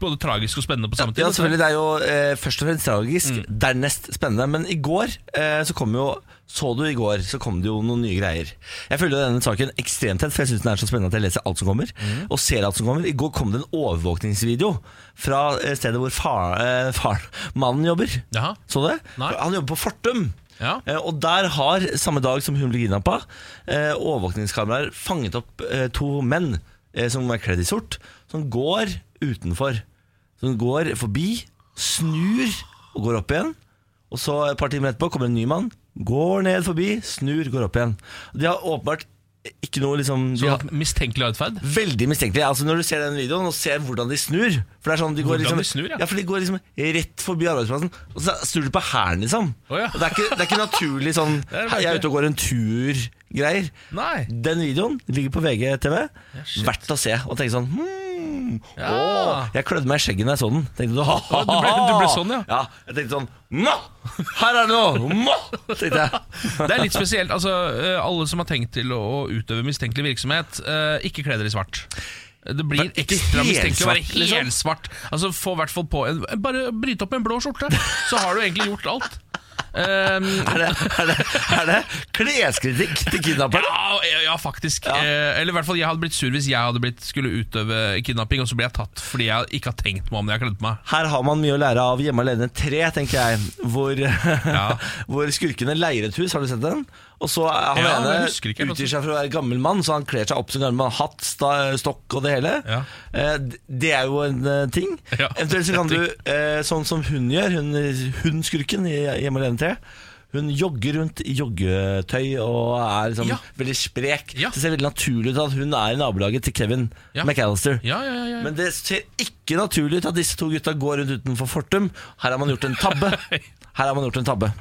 B: både tragisk og spennende på samme tid.
A: Ja, selvfølgelig. Det er jo eh, først og fremst tragisk, dernest spennende. Men i går eh, så kom jo Så du i går, så kom det jo noen nye greier. Jeg følger jo denne saken ekstremt tett, for jeg syns den er så spennende at jeg leser alt som kommer. Og ser alt som kommer. I går kom det en overvåkningsvideo fra eh, stedet hvor far, eh, far, mannen jobber.
B: Jaha.
A: Så du det?
B: Nei.
A: Han jobber på Fortum.
B: Ja.
A: Eh, Og der har, samme dag som hun ble kidnappa, eh, overvåkningskameraer fanget opp eh, to menn eh, som er kledd i sort, som går utenfor. Som går forbi, snur og går opp igjen. Og så et par timer etterpå kommer en ny mann, går ned forbi, snur, går opp igjen. De har åpenbart ikke noe liksom de
B: Sånn
A: har,
B: at mistenkelig atferd.
A: Veldig mistenkelig. Altså Når du ser den videoen og ser hvordan de snur For det er sånn de går
B: Hvordan
A: liksom
B: de snur, ja.
A: for de går liksom rett forbi arbeidsplassen, og så snur de på hælen, liksom.
B: Å, ja.
A: Og det, er ikke, det er ikke naturlig sånn
B: er det
A: 'jeg er ute og går en tur'-greier.
B: Nei.
A: Den videoen ligger på VGTV. Verdt å se. Og tenke sånn hmm,
B: Ja.
A: å, Jeg klødde meg i skjegget da jeg så den. Tenkte, du,
B: Ja, du ble- du ble sånn, ja.
A: ja. Jeg tenkte sånn Nå! Her er det noe! Nå! Tenkte jeg.
B: Det er litt spesielt. Altså, eh, alle som har tenkt til å å utøve mistenkelig virksomhet, eh, ikke kle dere i svart. Det blir
A: Men ikke
B: ekstra mistenkelig å være
A: helsvart, liksom.
B: helsvart. Altså, få i hvert fall på en Bare bryte opp med en blå skjorte, så har du egentlig gjort alt. Um,
A: Er det, er det, er det kleskritikk til kidnapperne?
B: ja, ja, faktisk. Eh, eller i hvert fall, jeg hadde blitt sur hvis jeg hadde blitt, skulle utøve kidnapping, og så ble jeg tatt fordi jeg ikke har tenkt meg om når jeg har kledd på meg.
A: Her har man mye å lære av Hjemme alene 3, tenker jeg. Hvor, hvor skurkene leier et hus, har du sett den? Og så er han
B: Ja,
A: ene
B: jeg husker ikke helt
A: utgir seg for å være gammel mann, så han kler seg opp som gammel mann. Hatt, sta, stokk og det hele.
B: Ja.
A: Eh, d- det er jo en eh, ting.
B: Ja,
A: Eventuelt så kan
B: det
A: du,
B: er
A: eh, sånn som hun gjør, hun, hun skurken i Hjemme alene 3. Hun jogger rundt i joggetøy og er liksom
B: Ja.
A: veldig sprek.
B: Ja.
A: Det ser veldig naturlig ut at hun er i nabolaget til Kevin
B: Ja.
A: McAllister.
B: Ja, ja, ja, ja.
A: Men det ser ikke naturlig ut at disse to gutta går rundt utenfor Fortum. Her har man gjort en tabbe. Her har man gjort en tabbe.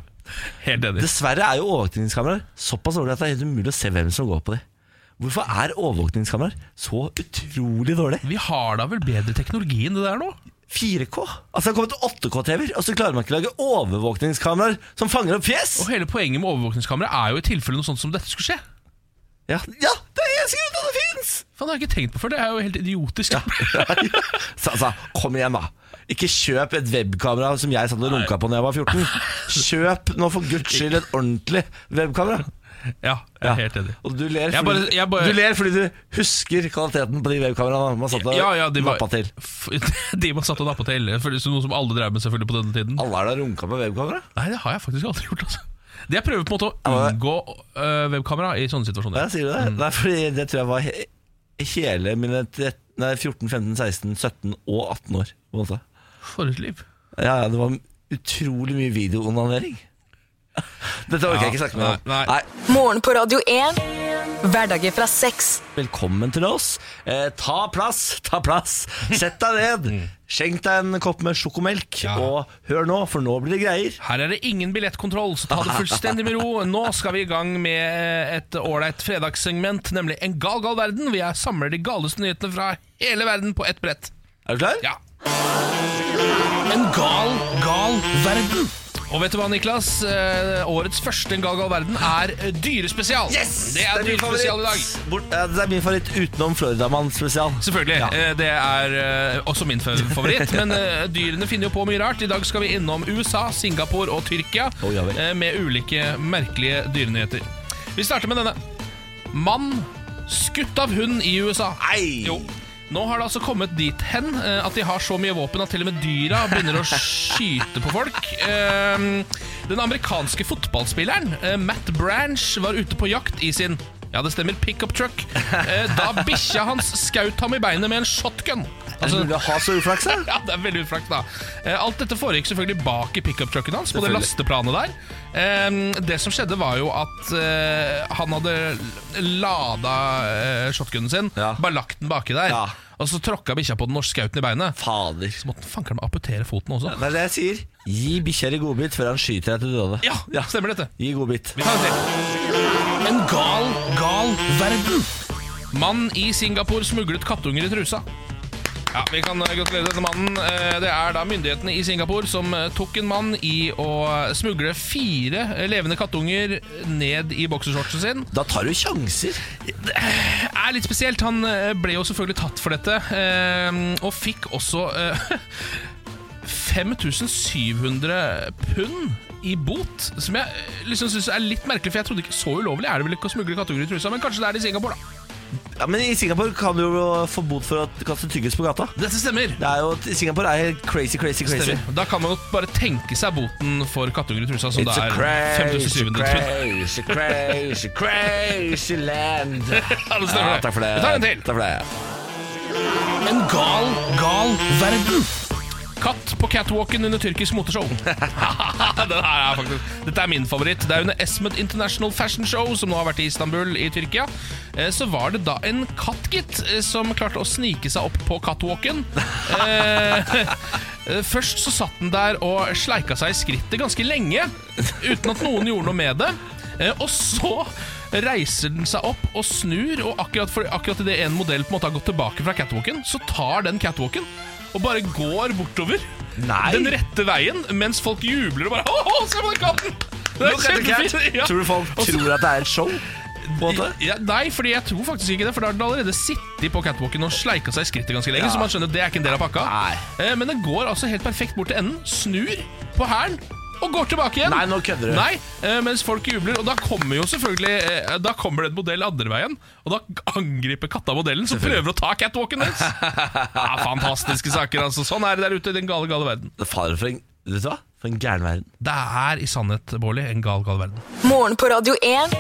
B: Helt enig.
A: Dessverre er jo overvåkningskameraer såpass dårlige at det er helt umulig å se hvem som går på dem. Hvorfor er overvåkningskameraer så utrolig dårlige?
B: Vi har da vel bedre teknologi enn det der nå?
A: 4K? Altså Det har kommet 8K-TV-er, og så klarer man ikke å lage overvåkningskameraer som fanger opp fjes!
B: Og hele poenget med overvåkningskamera er jo i tilfelle noe sånt som dette skulle skje.
A: Ja, ja det er eneste grunnen til at det fins!
B: Faen, det har jeg ikke tenkt på før. Det er jo helt idiotisk.
A: Så altså, kom igjen, da. Ikke kjøp et webkamera som jeg satt og runka på da jeg var 14. Kjøp nå for guds skyld et ordentlig webkamera.
B: Ja, jeg
A: Ja.
B: er helt enig.
A: Og du ler,
B: Jeg
A: fordi,
B: bare- jeg bare-
A: du ler fordi du husker kvaliteten på de webkameraene man satt og
B: Ja, ja, de var-
A: nappa til.
B: F- De man satt og nappa til. for det er Noe som alle drev med selvfølgelig på denne tiden.
A: Alle har da runka på webkamera?
B: Nei, det har jeg faktisk aldri gjort. altså Det Jeg prøver på en måte å
A: Ja, men-
B: unngå øh, webkamera i sånne
A: Ja,
B: situasjoner.
A: sier du det? Nei, fordi det tror jeg var he hele mine tre- nei, 14, 15, 16, 17 og 18 år. på en måte.
B: For et liv.
A: Ja, ja, det var utrolig mye videoonanering. Dette orker jeg ikke snakke med om.
B: Nei, nei.
D: Morgen på Radio 1. Hverdager fra seks.
A: Velkommen til oss. Eh, ta plass, ta plass. Sett deg ned. Skjenk deg en kopp med sjokomelk,
B: Mm. Ja.
A: og hør nå, for nå blir det greier.
B: Her er det ingen billettkontroll, så ta det fullstendig med ro. Nå skal vi i gang med øh, et ålreit fredagssegment, nemlig En gal, gal verden. Vi er samler de galeste nyhetene fra hele verden på ett brett.
A: Er du klar?
B: Ja. En gal, gal verden. Og vet du hva, Niklas? Eh, årets første En gal, gal verden er eh, dyrespesial. Det er,
A: min
B: dyrespesial i dag.
A: favoritt. Bort, ja, det er min favoritt utenom Floridamann-spesial.
B: Selvfølgelig. Eh, Det er eh, også min fa- favoritt. Men eh, dyrene finner jo på mye rart. I dag skal vi innom USA, Singapore og Tyrkia
A: Å, Oh, ja vel.
B: eh, med ulike merkelige dyrenyheter. Vi starter med denne. Mann skutt av hund i USA.
A: Nei!
B: Jo. Nå har det altså kommet dit hen eh, at de har så mye våpen at til og med dyra begynner å skyte på folk. Eh, Den amerikanske fotballspilleren eh, Matt Branch var ute på jakt i sin ja, det stemmer, pickup truck. Eh, Da bikkja hans skaut ham i beinet med en shotgun.
A: Er det
B: Altså,
A: mulig å ha så uflaks, da?
B: ja, det er veldig uflaks, da. Eh, Alt dette foregikk selvfølgelig bak i pickup-trucken hans, på det
A: Selvfølgelig.
B: lasteplanet der. Eh, Det som skjedde, var jo at eh, han hadde lada eh, shotgunen sin,
A: Ja.
B: bare lagt den baki der,
A: Ja.
B: og så tråkka bikkja på den norske skauten i beinet.
A: Fader.
B: Så måtte den fanker meg amputere foten også.
A: Det er det jeg sier. Gi bikkja di godbit før han skyter deg til døde.
B: Ja, stemmer dette.
A: Gi godbit.
B: Vi tar en til. En gal, gal verden. Mann i Singapore smuglet kattunger i trusa. Ja, Vi kan eh, gratulere denne mannen. Eh, Det er da myndighetene i Singapore som eh, tok en mann i å smugle fire eh, levende kattunger ned i boksershortsen sin.
A: Da tar du sjanser.
B: Det er litt spesielt. Han eh, ble jo selvfølgelig tatt for dette, eh, og fikk også eh, 5700 pund i bot, som jeg eh, liksom syns er litt merkelig, for jeg trodde ikke så ulovlig er det vel ikke å smugle kattunger i trusa, men kanskje det er det i Singapore, da.
A: Ja, Men i Singapore kan du jo få bot for å kaste tyggis på gata.
B: Dette stemmer.
A: Det er jo, Singapore er helt crazy, crazy, crazy.
B: stemmer. Da kan man jo bare tenke seg boten for kattunger i trusa, som
A: It's a
B: da er
A: crazy,
B: 5700 pund.
A: crazy, crazy, crazy land.
B: Ja, det stemmer.
A: Ja, Ah, takk for det.
B: Vi tar en til.
A: Takk for det.
B: En gal, gal verden. Katt på catwalken under tyrkisk moteshow. Den her er faktisk, dette er min favoritt. Det er under Esmet International Fashion Show, som nå har vært i Istanbul i Tyrkia. Eh, Så var det da en katt, gitt, eh, som klarte å snike seg opp på catwalken. Eh, eh, Først så satt den der og sleika seg i skrittet ganske lenge, uten at noen gjorde noe med det. Eh, Og så reiser den seg opp og snur, og akkurat, for, akkurat i det en modell på en måte har gått tilbake fra catwalken, så tar den catwalken og bare går bortover
A: Nei.
B: den rette veien, mens folk jubler og bare Åh, se på den katten! Den
A: Look at the cat.
B: kjempefin! Ja.
A: Tror du folk
B: Og så-
A: tror at det er et show? På en måte?
B: ja, nei, fordi jeg tror faktisk ikke det. For da har den allerede sittet på catwalken og sleika seg i skrittet ganske lenge.
A: Ja.
B: Så man skjønner at det er ikke en del av pakka.
A: Nei.
B: Eh, Men den går altså helt perfekt bort til enden, snur på hælen. Og går tilbake igjen
A: Nei, nå kødder du.
B: Nei, eh, Mens folk jubler. Og da kommer jo selvfølgelig eh, Da kommer det en modell andre veien, og da angriper katta modellen, som prøver å ta catwalken deres. Ja, fantastiske saker, altså. Sånn er det der ute i den gale, gale verden.
A: Fader, for en, vet du hva? For en gæren verden.
B: Det er i sannhet, Bårli, en gal, gal verden.
D: Morgen på Radio 1.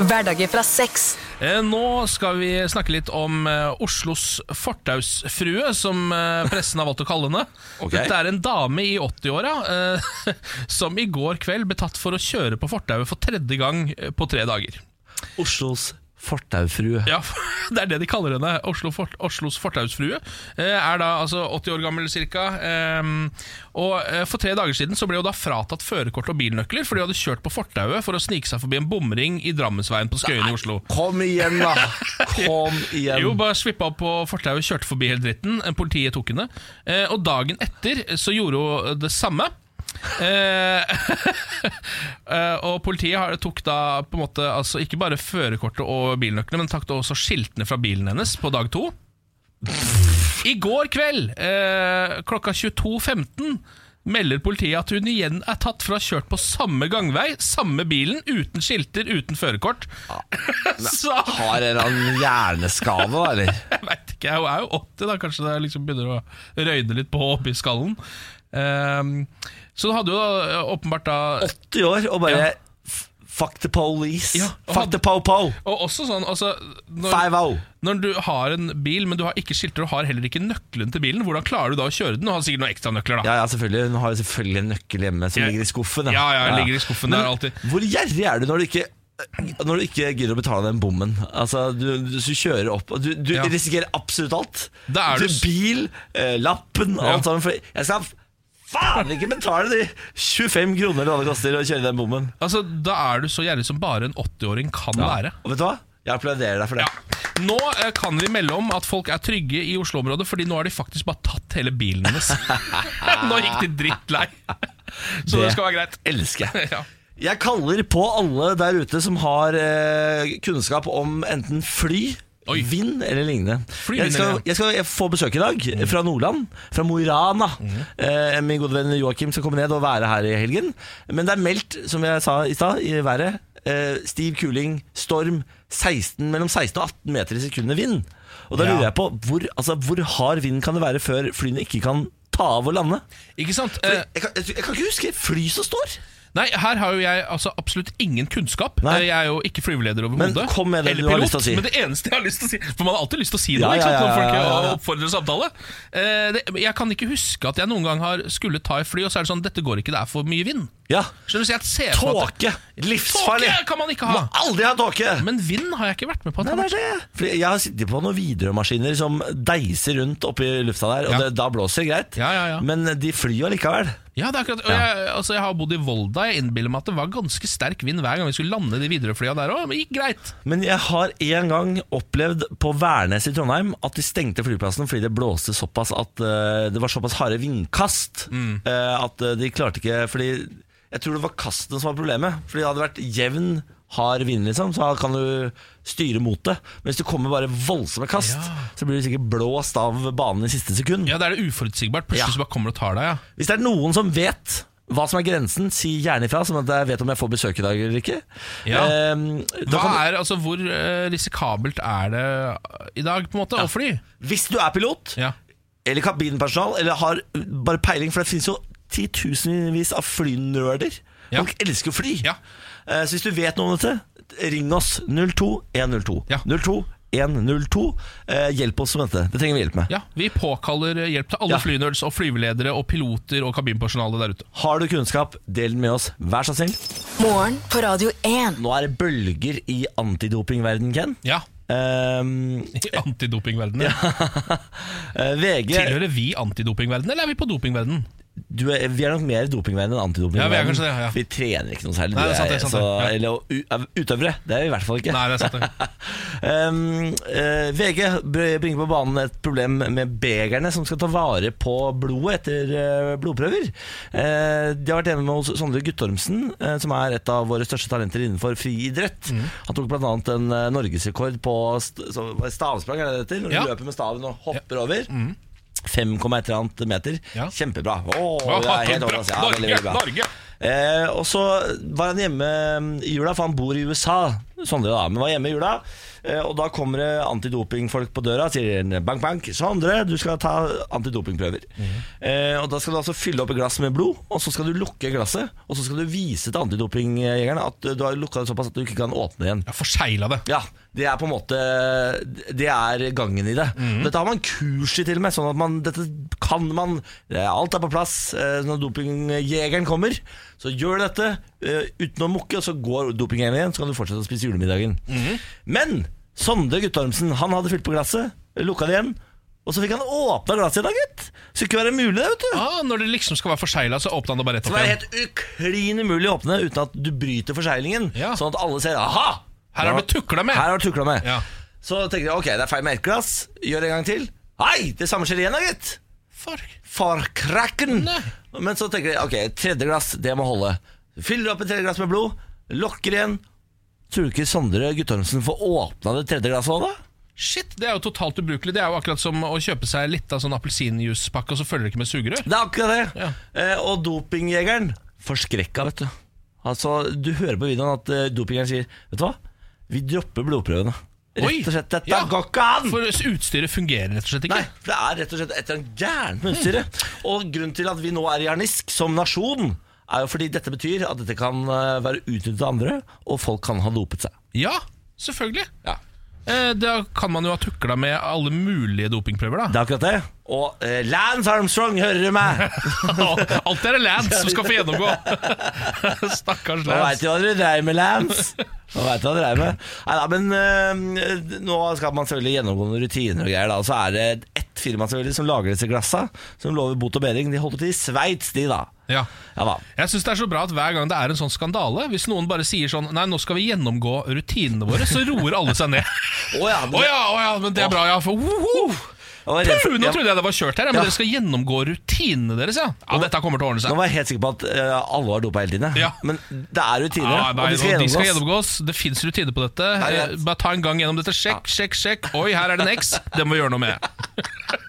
D: Hverdager fra seks.
B: Eh, Nå skal vi snakke litt om eh, Oslos fortausfrue, som eh, pressen har valgt å kalle henne.
A: Ok.
B: Dette er en dame i 80-åra eh, som i går kveld ble tatt for å kjøre på fortauet for tredje gang eh, på tre dager.
A: Oslos Fortaufrue.
B: Ja, det er det de kaller henne. Oslo Fort, Oslos fortausfrue. eh, Er da altså 80 år gammel ca. Og eh, for tre dager siden så ble hun da fratatt førerkort og bilnøkler fordi hun hadde kjørt på fortauet for å snike seg forbi en bomring i Drammensveien på Skøyen i Oslo.
A: Kom igjen, da! Kom igjen.
B: Jo, bare svippa opp på fortauet, kjørte forbi hele dritten. eh, Politiet tok henne. Eh, Og dagen etter så gjorde hun det samme. Eh, eh, og politiet har, tok da på en måte altså, ikke bare førerkortet og bilnøklene, men tok da også skiltene fra bilen hennes på dag to. I går kveld eh, klokka 22.15 melder politiet at hun igjen er tatt for å ha kjørt på samme gangvei, samme bilen, uten skilter, uten førerkort. Så
A: Har en eller annen hjerneskade, da, eller?
B: jeg vet ikke, hun er jo 80 da, kanskje det liksom begynner å røyne litt på oppi skallen. Ehm, så hun hadde jo da eh, åpenbart da
A: 80 år og bare
B: Ja.
A: f- Fuck the police.
B: Ja, og
A: Fuck
B: han-
A: the po-po.
B: Og også sånn, altså når,
A: Five-o.
B: når du har en bil, men du har ikke skilter og har heller ikke nøkkelen til bilen, hvordan klarer du da å kjøre den? Du har sikkert noen ekstra nøkler, da.
A: Ja, ja, selvfølgelig. Hun har jo selvfølgelig en nøkkel hjemme som
B: Ja.
A: ligger i skuffen. da.
B: Ja, ja, ligger i skuffen der alltid.
A: Hvor gjerrig er du når du ikke når du ikke gidder å betale den bommen. Altså, du, du, du kjører opp og Du, du
B: Ja.
A: risikerer absolutt alt.
B: Da er du s-
A: Bil, eh, lappen, alt
B: Ja.
A: sammen. For jeg skal faen ikke betale de 25 kroner eller hva det koster å kjøre den bommen.
B: Altså, da er du så gjerrig som bare en 80-åring kan være.
A: Og vet du hva? Jeg applauderer deg for det.
B: Ja. Nå eh, kan vi melde om at folk er trygge i Oslo-området, fordi nå har de faktisk bare tatt hele bilen hennes. nå gikk de drittlei. Så det,
A: Det-
B: skal være greit.
A: Elsker jeg.
B: Ja.
A: Jeg kaller på alle der ute som har eh, kunnskap om enten fly,
B: Oi.
A: vind eller lignende.
B: Fly,
A: jeg,
B: vind
A: skal,
B: eller-
A: jeg skal få besøk i dag eh, fra Nordland, fra Mo i Rana. Eh, min gode venn Joakim skal komme ned og være her i helgen. Men det er meldt, som jeg sa i stad, i været. eh, stiv kuling, storm, 16, mellom 16 og 18 meter i sekundet vind. Og da
B: Ja.
A: lurer jeg på hvor, altså, hvor hard vind kan det være før flyene ikke kan ta av og lande?
B: Ikke sant?
A: Jeg
B: Eh,
A: kan, jeg, jeg kan ikke huske fly som står.
B: nei, her har jo jeg altså absolutt ingen kunnskap.
A: Nei.
B: Eh, Jeg er jo ikke flyveleder
A: Men
B: overhodet.
A: kom med det
B: eller
A: du har
B: pilot,
A: lyst til å si.
B: Men det eneste jeg har lyst til å si For man har alltid lyst til å si noe
A: Ja,
B: ikke sant?
A: ja, ja,
B: når folk
A: ja, ja, ja.
B: eh, oppfordrer samtale. Eh, det, jeg kan ikke huske at jeg noen gang har skulle ta et fly, og så er det sånn Dette går ikke, det er for mye vind.
A: Ja
B: Skjønner du, så jeg ser på at-
A: Tåke! Livsfarlig!
B: Tåke kan man ikke ha.
A: Må aldri ha tåke!
B: Men vind har jeg ikke vært med på. at
A: Nei,
B: har
A: det
B: vært-
A: er det. Fordi jeg har sittet på noen Widerøe-maskiner som deiser rundt oppi lufta der, og
B: Ja.
A: det, da blåser det greit.
B: Ja, ja, ja.
A: Men de flyr jo likevel.
B: Ja, det er akkurat og jeg, altså, jeg har bodd i Volda. Jeg innbiller meg at det var ganske sterk vind hver gang vi skulle lande de Widerøe-flya der òg. Men det gikk greit.
A: Men jeg har en gang opplevd på Værnes i Trondheim at de stengte flyplassen fordi det blåste såpass at eh, det var såpass harde vindkast
B: Mm.
A: eh, at eh, de klarte ikke Fordi jeg tror det var kastene som var problemet. Fordi det hadde vært jevn, hard vind, liksom, så kan du styre mot det. Men hvis det kommer bare voldsomme kast, så blir du sikkert blåst av banen i siste sekund.
B: Ja, Da er det uforutsigbart. Plutselig
A: Ja.
B: så bare kommer det og tar deg. Ja.
A: Hvis det er noen som vet hva som er grensen, si gjerne ifra, sånn at jeg vet om jeg får besøk i dag eller ikke.
B: Ja.
A: Eh, da
B: Hva
A: kan-
B: er, altså, hvor eh, risikabelt er det eh, i dag på en måte, å fly?
A: hvis du er pilot,
B: Ja.
A: eller kabinpersonal, eller har bare peiling, for det finnes jo titusenvis av flynerder.
B: Ja.
A: Folk elsker å fly.
B: Ja.
A: Eh, Så hvis du vet noe om dette, ring oss 02102.
B: Ja.
A: 02102. Eh, Hjelp oss med dette. Det trenger vi hjelp med.
B: ja, Vi påkaller eh, hjelp til alle
A: Ja.
B: flynerds og flyveledere og piloter og kabinpersonale der ute.
A: Har du kunnskap, del den med oss. Vær så snill.
D: Morgen på Radio 1.
A: Nå er det bølger i antidopingverdenen, Ken.
B: Ja,
A: Ehm,
B: I antidopingverdenen.
A: eh, VG
B: Tilhører vi antidopingverdenen, eller er vi på dopingverdenen?
A: du er, Vi er nok mer dopingverden enn antidopingverden.
B: Ja, vi er kanskje det, ja.
A: Vi trener ikke noe særlig.
B: Nei,
A: du
B: det er sant, det er sant,
A: så,
B: det. Ja.
A: Eller u- utøvere. Det er vi i hvert fall ikke.
B: Nei, det er sant. det.
A: Um, eh, VG br- bringer på banen et problem med begerne som skal ta vare på blodet etter eh, blodprøver. Eh, de har vært enige med hos Sondre Guttormsen, eh, som er et av våre største talenter innenfor friidrett.
B: Mm.
A: Han tok bl.a. en eh, norgesrekord på st så- hva er det, stavsprang, er det det heter? Når
B: Ja. Mm.
A: du løper med staven og hopper over. 5,1 eller annet meter.
B: Ja.
A: Kjempebra. Åh, det er helt overraskende. Ja, veldig,
B: Norge!
A: veldig bra.
B: Norge!
A: Eh, og så var han hjemme mm, i jula, for han bor i USA. Sondre da, men var hjemme i jula. Eh, og da kommer det antidopingfolk på døra og sier en bank, bank. Sondre, du skal ta antidopingprøver. Eh, og da skal du altså fylle opp et glass med blod, og så skal du lukke glasset. Og så skal du vise til antidopingjegerne at du har lukka det såpass at du ikke kan åpne igjen.
B: Jeg forsegla det.
A: Ja, det er på en måte Det er gangen i det.
B: Mhm.
A: Dette har man kurs i, til og med. Sånn at man, dette kan man. Eh, Alt er på plass. Eh, Når dopingjegeren kommer, så gjør du dette. eh, uten å mukke, og så går dopingen igjen, så kan du fortsette å spise julemiddagen.
B: Mhm.
A: Men Sondre Guttormsen, han hadde fylt på glasset, lukka det igjen, og så fikk han åpna glasset i dag, gitt. Skulle ikke være mulig, det, vet du.
B: Ah, når det liksom skal være forsegla, så åpner han det bare rett
A: Det
B: opp
A: var
B: igjen.
A: helt uklin umulig å åpne uten at du bryter forseglingen,
B: Ja.
A: sånn at alle ser aha!
B: Her har du tukla med!
A: Her har du tukla med.
B: Ja.
A: Så tenker jeg ok, det er feil med ett glass. Gjør det en gang til. Hei, det samme skjer igjen, da, gitt.
B: Fuck.
A: Farkrakken.
B: Nei.
A: Men så tenker jeg ok, et tredje glass, det må holde. Fyller opp et tredje glass med blod, lokker igjen. Tror du ikke Sondre Guttormsen får åpna det tredje glasset òg, da?
B: Shit, det er jo totalt ubrukelig. Det er jo akkurat som å kjøpe seg litt av sånn appelsinjuicepakke, og så følger det ikke med sugerør.
A: Det er akkurat det.
B: Ja.
A: Eh, og dopingjegeren forskrekka, vet du. Altså, Du hører på videoen at eh, dopingjegeren sier Vet du hva, vi dropper blodprøvene.
B: Oi.
A: Rett og slett, dette
B: Ja.
A: går ikke an!
B: For utstyret fungerer rett og slett ikke.
A: Nei, for det er rett og slett et eller annet gærent med utstyret. Og grunnen til at vi nå er i harnisk som nasjon, er jo fordi dette betyr at dette kan eh, være utnyttet av andre, og folk kan ha dopet seg.
B: Ja, selvfølgelig.
A: Ja.
B: Eh, da kan man jo ha tukla med alle mulige dopingprøver, da.
A: Det er akkurat det. Og eh, Lance Armstrong, hører du meg?
B: Alt er det Lance som skal få gjennomgå. Stakkars
A: Nå veit
B: Lance.
A: du hva dere dreier med, Lance. Nå vet du hva dere dreier med. Neida, men eh, nå skal man selvfølgelig gjennomgå noen rutiner og greier. Da. Og så er det ett firma selvfølgelig som lager disse glassa, som lover bot og bedring. De holder til i Sveits, de, da.
B: Ja.
A: Ja da.
B: Jeg syns det er så bra at hver gang det er en sånn skandale, hvis noen bare sier sånn Nei, nå skal vi gjennomgå rutinene våre, så roer alle seg ned.
A: Å ja,
B: Å
A: men-
B: ja, å ja, men det er bra, ja. For woho!
A: Jeg var redd for-
B: Puh, nå
A: jeg-
B: trodde jeg det var kjørt her, ja, men
A: Ja.
B: dere skal gjennomgå rutinene deres, ja. Ja, dette kommer til å ordne
A: Nå
B: seg.
A: var jeg helt sikker på at eh, alle var dopa hele tiden. jeg.
B: Ja.
A: Men det er rutiner,
B: Ja, nei,
A: og de skal
B: nå- de
A: gjennomgås.
B: skal gjennomgås. Det fins rutiner på dette.
A: Nei, det er-
B: Eh, Bare ta en gang gjennom dette. Sjekk, sjekk, sjekk. Oi, her er det en X. Det må vi gjøre noe med.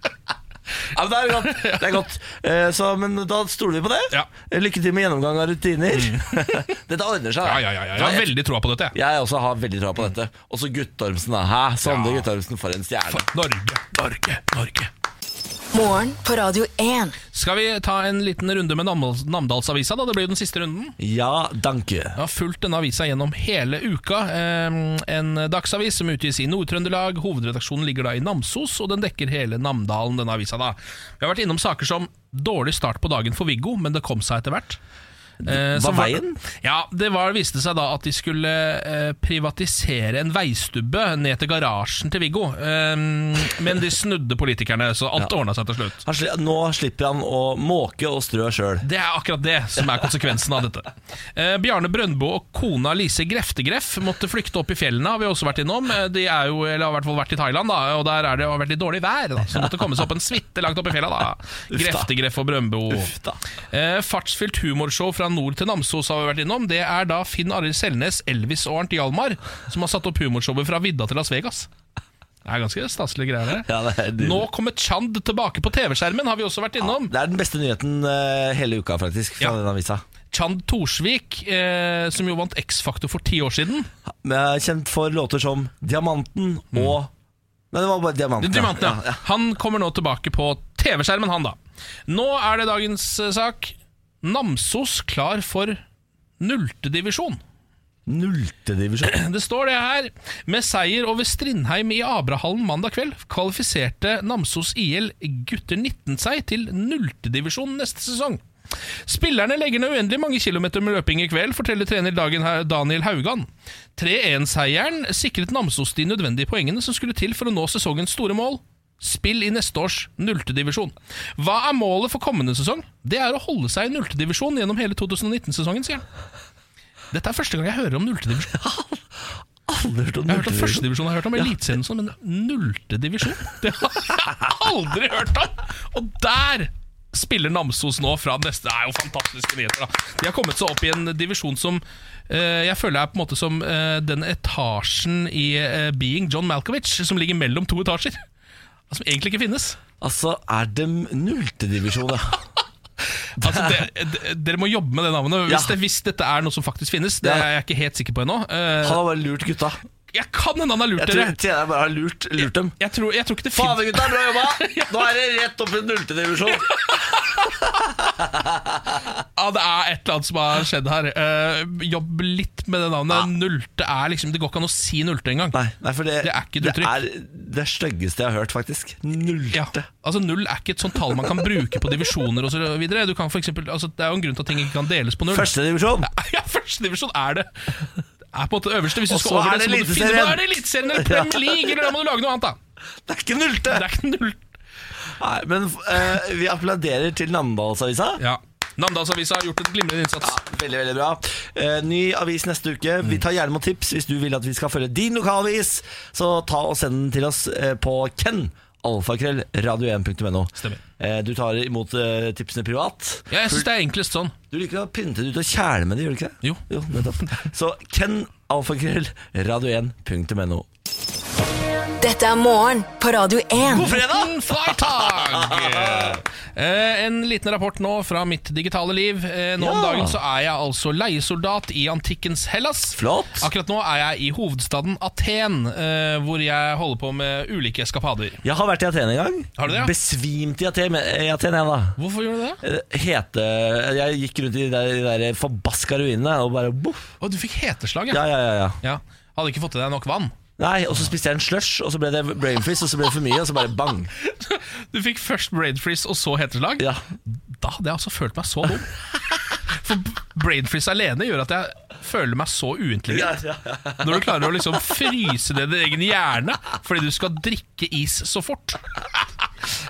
A: Ja, men det er godt. Det er godt. Eh, så, men da stoler vi på det.
B: Ja. Mm.
A: Eh, Lykke til med gjennomgang av rutiner. Dette ordner seg. da.
B: Ja, ja, ja, ja. Jeg har veldig troa på dette. jeg.
A: Jeg også har veldig tro på dette. Også Guttormsen, da. Hæ? Sondre Guttormsen, for en stjerne.
B: Norge, Norge, Norge.
D: Morgen på Radio 1.
B: Skal vi ta en liten runde med Namdals- Namdalsavisa, da? Det blir jo den siste runden.
A: Ja, danke.
B: Jeg har fulgt denne avisa gjennom hele uka. Eh, En dagsavis som utgis i Nord-Trøndelag. Hovedredaksjonen ligger da i Namsos, og den dekker hele Namdalen, denne avisa. da. Vi har vært innom saker som dårlig start på dagen for Viggo, men det kom seg etter hvert. Eh, som var-
A: veien?
B: Ja, det var, viste seg da at de skulle eh, privatisere en veistubbe ned til garasjen til Viggo. Eh, men de snudde politikerne, så alt ordna seg til slutt.
A: Han sli nå slipper han å måke og strø sjøl.
B: Det er akkurat det som er konsekvensen av dette. Eh, Bjarne Brøndbo og kona Lise Greftegreff måtte flykte opp i fjellene, har vi også vært innom. Eh, De er jo, eller har i hvert fall vært i Thailand, da, og der er det, har vært litt dårlig vær. Da, så måtte komme seg opp en suite langt opp i fjella. Da. Greftegreff og Brøndbo.
A: Uff da.
B: Eh, fartsfylt humorshow fra nord til Namsos har vi vært innom. Det er da Finn Arild Selnes, Elvis og Arnt Hjalmar som har satt opp humorshowet Fra vidda til Las Vegas. Det er ganske staselige greier.
A: Ja, det er nydelig.
B: Nå kommer Chand tilbake på TV-skjermen, har vi også vært innom.
A: Det er den beste nyheten eh, hele uka, faktisk, fra
B: Ja.
A: den avisa.
B: Chand Torsvik, eh, som jo vant X-Faktor for ti år siden.
A: Men jeg er Kjent for låter som Diamanten og Nei, det var bare Diamanten. ja.
B: Mm. Diamanten, ja. Han kommer nå tilbake på TV-skjermen, han da. Nå er det dagens eh, sak. Namsos klar for nulltedivisjon.
A: Nulltedivisjon.
B: Det står det her. Med seier over Strindheim i Abrahallen mandag kveld kvalifiserte Namsos IL gutter 19 seg til nulltedivisjon neste sesong. Spillerne legger ned uendelig mange kilometer med løping i kveld, forteller trener Dagen Daniel Haugan. 3-1-seieren sikret Namsos de nødvendige poengene som skulle til for å nå sesongens store mål. Spill i neste års nulltedivisjon. Hva er målet for kommende sesong? Det er å holde seg i nulltedivisjon gjennom hele 2019-sesongen, sier han. Dette er første gang jeg hører om nulltedivisjon.
A: Aldri hørt om
B: Jeg har hørt om
A: nulltedivisjon.
B: førstedivisjon, jeg har hørt om eliteserien, og sånn, men nullte divisjon? Det har jeg aldri hørt om! Og der spiller Namsos nå fra neste Det er jo fantastiske nyheter, da. De har kommet seg opp i en divisjon som eh, jeg føler er på en måte som eh, den etasjen i eh, Being John Malkovich som ligger mellom to etasjer. Som egentlig ikke finnes.
A: Altså, er det nulltedivisjon, ja?
B: Altså, det, d- dere må jobbe med det navnet hvis,
A: Ja.
B: det, hvis dette er noe som faktisk finnes. Det
A: Ja.
B: er jeg ikke helt sikker på ennå. Eh,
A: Han har bare lurt gutta.
B: jeg kan hende han har lurt
A: Jeg tror
B: dere.
A: tjeneren bare har lurt, lurt dem.
B: Jeg tror, jeg tror ikke det finnes
A: Fader, gutta, bra jobba! Nå er det rett opp i nulltedivisjon.
B: Ja, det er et eller annet som har skjedd her. Eh, jobb litt med det navnet.
A: Ja.
B: Nulte er liksom Det går ikke an å si nulte engang.
A: Nei, nei, for det,
B: Det er ikke et uttrykk.
A: Det er det styggeste jeg har hørt, faktisk. Nulte.
B: Ja, altså Null er ikke et sånt tall man kan bruke på divisjoner osv. Altså, det er jo en grunn til at ting ikke kan deles på null.
A: Første divisjon!
B: Ja, første divisjon er det. Det er på en måte øverste. Hvis du
A: Og så
B: skal over
A: er
B: det,
A: det
B: så må du finne
A: Eliteserien.
B: Nå er det Eliteserien eller Premier League, eller da må du lage noe annet, da.
A: Det er ikke nulte!
B: Det er ikke null.
A: Nei, men eh, vi applauderer til Namdalsavisa.
B: Ja. Namdalsavisa har gjort et glimrende innsats.
A: Veldig, veldig bra. Eh, ny avis neste uke. Vi tar gjerne imot tips hvis du vil at vi skal følge din lokalavis. Så ta og send den til oss eh, på ken. Alfakrøll, radio1.no.
B: Stemmer.
A: Eh, Du tar imot eh, tipsene privat.
B: Ja, jeg syns det er enklest sånn.
A: Du liker å pynte det ut og kjæle med det, gjør du ikke det?
B: Jo.
A: nettopp. Så ken. Alfakrøll, radio1.no.
D: Dette er morgen på Radio 1.
B: Fredag! Freitag! Eh, en liten rapport nå fra mitt digitale liv. Eh, nå om
A: Ja.
B: dagen så er jeg altså leiesoldat i antikkens Hellas.
A: Flott.
B: Akkurat nå er jeg i hovedstaden Aten, eh, hvor jeg holder på med ulike eskapader.
A: Jeg har vært i Aten en gang.
B: Har du det, ja?
A: Besvimt i Aten, i Aten jeg, da.
B: Hvorfor gjør du det?
A: Eh, Hete Jeg gikk rundt i de der, de der forbaska ruinene og bare boff.
B: Å, du fikk heteslag,
A: Ja, ja, ja, ja.
B: Ja, Hadde ikke fått i deg nok vann.
A: Nei, og så spiste jeg en slush, og så ble det brain freeze, og så ble det for mye, og så bare bang.
B: Du fikk først brain freeze og så heteslag.
A: Ja.
B: Da hadde jeg altså følt meg så dum. For b- brain freeze alene gjør at jeg føler meg så uintelligent. Når du klarer å liksom fryse ned din egen hjerne fordi du skal drikke is så fort.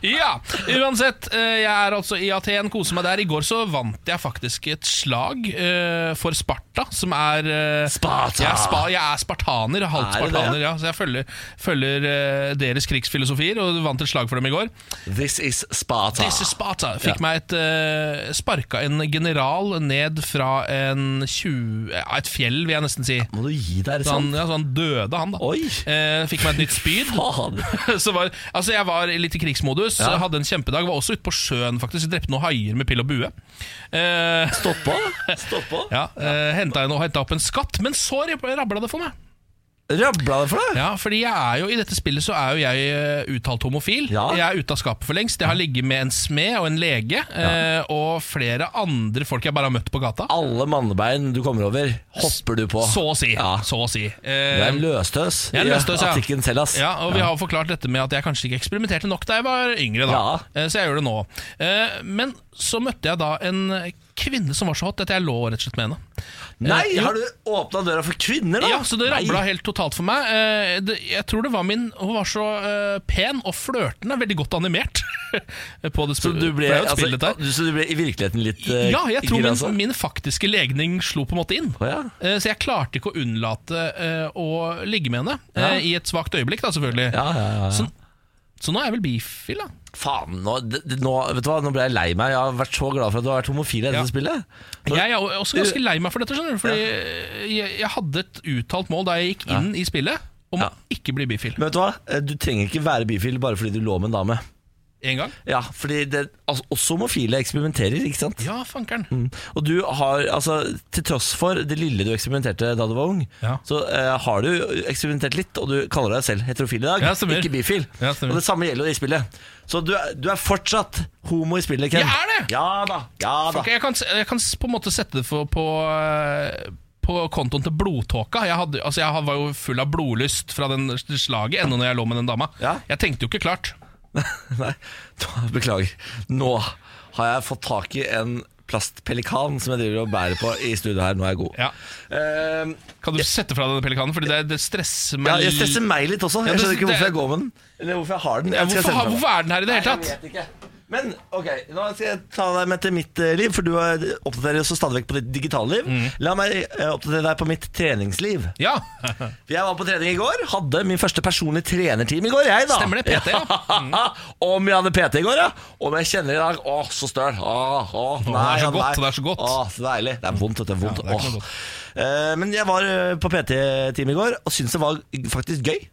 B: Ja, uansett. eh, Jeg er altså i Aten, koser meg der. I går så vant jeg faktisk et slag eh, for Sparta, som er eh,
A: Sparta!
B: Jeg er, spa, jeg er spartaner, halvt
A: Er du det,
B: spartaner, ja. Så jeg følger, følger eh, deres krigsfilosofier, og vant et slag for dem i går.
A: This is Sparta.
B: Disse Sparta
A: Ah. Ja.
B: fikk meg et eh, Sparka en general ned fra en 20, ja, et fjell, vil jeg nesten si.
A: Må du gi deg, er det
B: Så han,
A: sant?
B: ja, så han døde, han, da.
A: Oi.
B: Eh, fikk meg et nytt spyd.
A: Faen!
B: Så var, altså jeg var litt i krigsmodus,
A: Ja.
B: hadde en kjempedag. Var også ute på sjøen, faktisk. Drepte noen haier med pil og bue. Eh,
A: Stopp på! Stopp på.
B: ja, eh, Henta inn og henta opp en skatt, men så rabla det for meg.
A: Rabla det for deg?
B: Ja, fordi jeg er jo I dette spillet så er jo jeg eh, uttalt homofil.
A: Ja.
B: Jeg er ute av skapet for lengst. Jeg har ligget med en smed og en lege eh, og flere andre folk jeg bare har møtt på gata.
A: Alle mannebein du kommer over, hopper du på.
B: Så å si.
A: Ja.
B: Så å si. Eh,
A: Du er en løstøs.
B: jeg er en løstøs, ja.
A: Artikken selv, ass.
B: Ja, og Vi har jo forklart dette med at jeg kanskje ikke eksperimenterte nok da jeg var yngre. da
A: Ja.
B: Eh, Så jeg gjør det nå. Eh, Men så møtte jeg da en kvinne som var så hot at jeg lå rett og slett med henne.
A: Nei,
B: Eh, jo.
A: har du åpna døra for kvinner, da?
B: Ja, så det
A: Ah, Nei.
B: ramla helt totalt for meg. Eh, det, jeg tror det var min Hun var så eh, pen og flørtende, veldig godt animert. på det
A: Så
B: spil-
A: du ble,
B: det er jo et
A: altså,
B: spill, dette her.
A: du- så du ble i virkeligheten litt eh,
B: Ja, jeg tror
A: gira,
B: min,
A: altså?
B: min faktiske legning slo på en måte inn.
A: Å, ja.
B: Eh, Så jeg klarte ikke å unnlate eh, å ligge med henne. eh, I et svakt øyeblikk, da, selvfølgelig.
A: Ja, ja, ja, ja.
B: Så, så nå er jeg vel bifil, da.
A: Faen, nå, d- d- nå, vet du hva? nå ble jeg lei meg. Jeg har vært så glad for at du har vært homofil i dette
B: Ja.
A: spillet. Så-
B: Jeg er o- også ganske lei meg for dette, skjønner du. Fordi jeg, jeg hadde et uttalt mål da jeg gikk inn i spillet, om
A: Ja.
B: å ikke bli bifil.
A: Men vet du hva? Eh, Du trenger ikke være bifil bare fordi du lå med en dame.
B: En gang.
A: Ja, fordi det, altså, Også homofile eksperimenterer, ikke sant?
B: Ja, fankeren.
A: Mm. Og du har, altså Til tross for det lille du eksperimenterte da du var ung,
B: Ja.
A: så eh, har du eksperimentert litt, og du kaller deg selv heterofil i dag.
B: Ja, stemmer.
A: ikke bifil.
B: Ja, stemmer.
A: og det samme gjelder i spillet. Så du, er- du er fortsatt homo i spillet, Ken.
B: Jeg er det!
A: Ja da. Ja da.
B: Fuck, jeg, kan, jeg kan s- på en måte sette det for, på, eh, på kontoen til blodtåka. Jeg, hadde, altså jeg var jo full av blodlyst fra den slaget ennå når jeg lå med den dama.
A: Ja.
B: Jeg tenkte jo ikke klart.
A: Nei, nå- beklager. Nå har jeg fått tak i en plastpelikan som jeg driver og bærer på i studio her. Nå er jeg god.
B: Ja.
A: Eh,
B: Kan du sette fra denne pelikanen? Fordi det, det stresser
A: Ja,
B: meg
A: jeg stresser meg litt også.
B: Ja,
A: Jeg
B: men
A: skjønner ikke
B: det-
A: hvorfor jeg går med den. Eller hvorfor jeg har den.
B: ja,
A: Jeg skal
B: hvorfor,
A: sende
B: har-
A: den
B: hvorfor er den her i det hele
A: Nei,
B: tatt?
A: Jeg vet ikke. Men ok, nå skal jeg ta deg med til mitt eh, liv, for du er- oppdaterer oss stadig vekk på ditt digitale liv.
B: Mm.
A: La meg eh, oppdatere deg på mitt treningsliv.
B: Ja,
A: Jeg var på trening i går, hadde min første personlige trenerteam i går, jeg da.
B: Stemmer det, PT, ja.
A: Om jeg hadde PT i går, ja. Om jeg kjenner i dag, åh, så støl. Åh, åh, nei,
B: det er så
A: nei.
B: godt, det er så godt.
A: Åh, så deilig. Det er vondt, det er vondt.
B: Ja, det er ikke noe
A: åh. Eh, Men jeg var eh, på PT-team i går, og syntes det var faktisk gøy.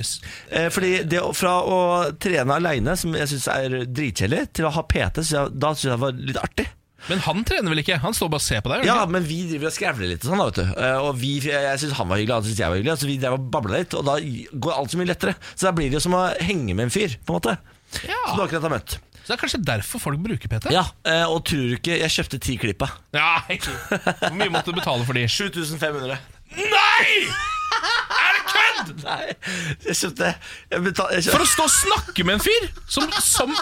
B: yes.
A: Eh, Fordi det, å- fra å trene alene, som jeg synes er dritkjellig, til å ha PT, så jeg, da synes jeg det var litt artig. Mhm.
B: Men han trener vel ikke? Han står bare og ser på deg? gjør
A: Ja,
B: han ikke?
A: men vi driver og skrevler litt og sånn, da, vet du. Eh, Og vi, jeg synes han var hyggelig, han synes jeg var hyggelig, så vi drev og babla litt, og da går alt så mye lettere. Så da blir det jo som å henge med en fyr, på en måte.
B: Ja.
A: Som du akkurat har møtt.
B: Så det er kanskje derfor folk bruker PT?
A: Ja, eh, og tror du ikke Jeg kjøpte ti klipp av.
B: Nei. Hvor mye måtte du betale for de?
A: 7500.
B: Nei! Er det kødd?!
A: Nei, jeg kjøpte jeg betal, jeg
B: For
A: kjøpte.
B: å stå og snakke med en fyr som, som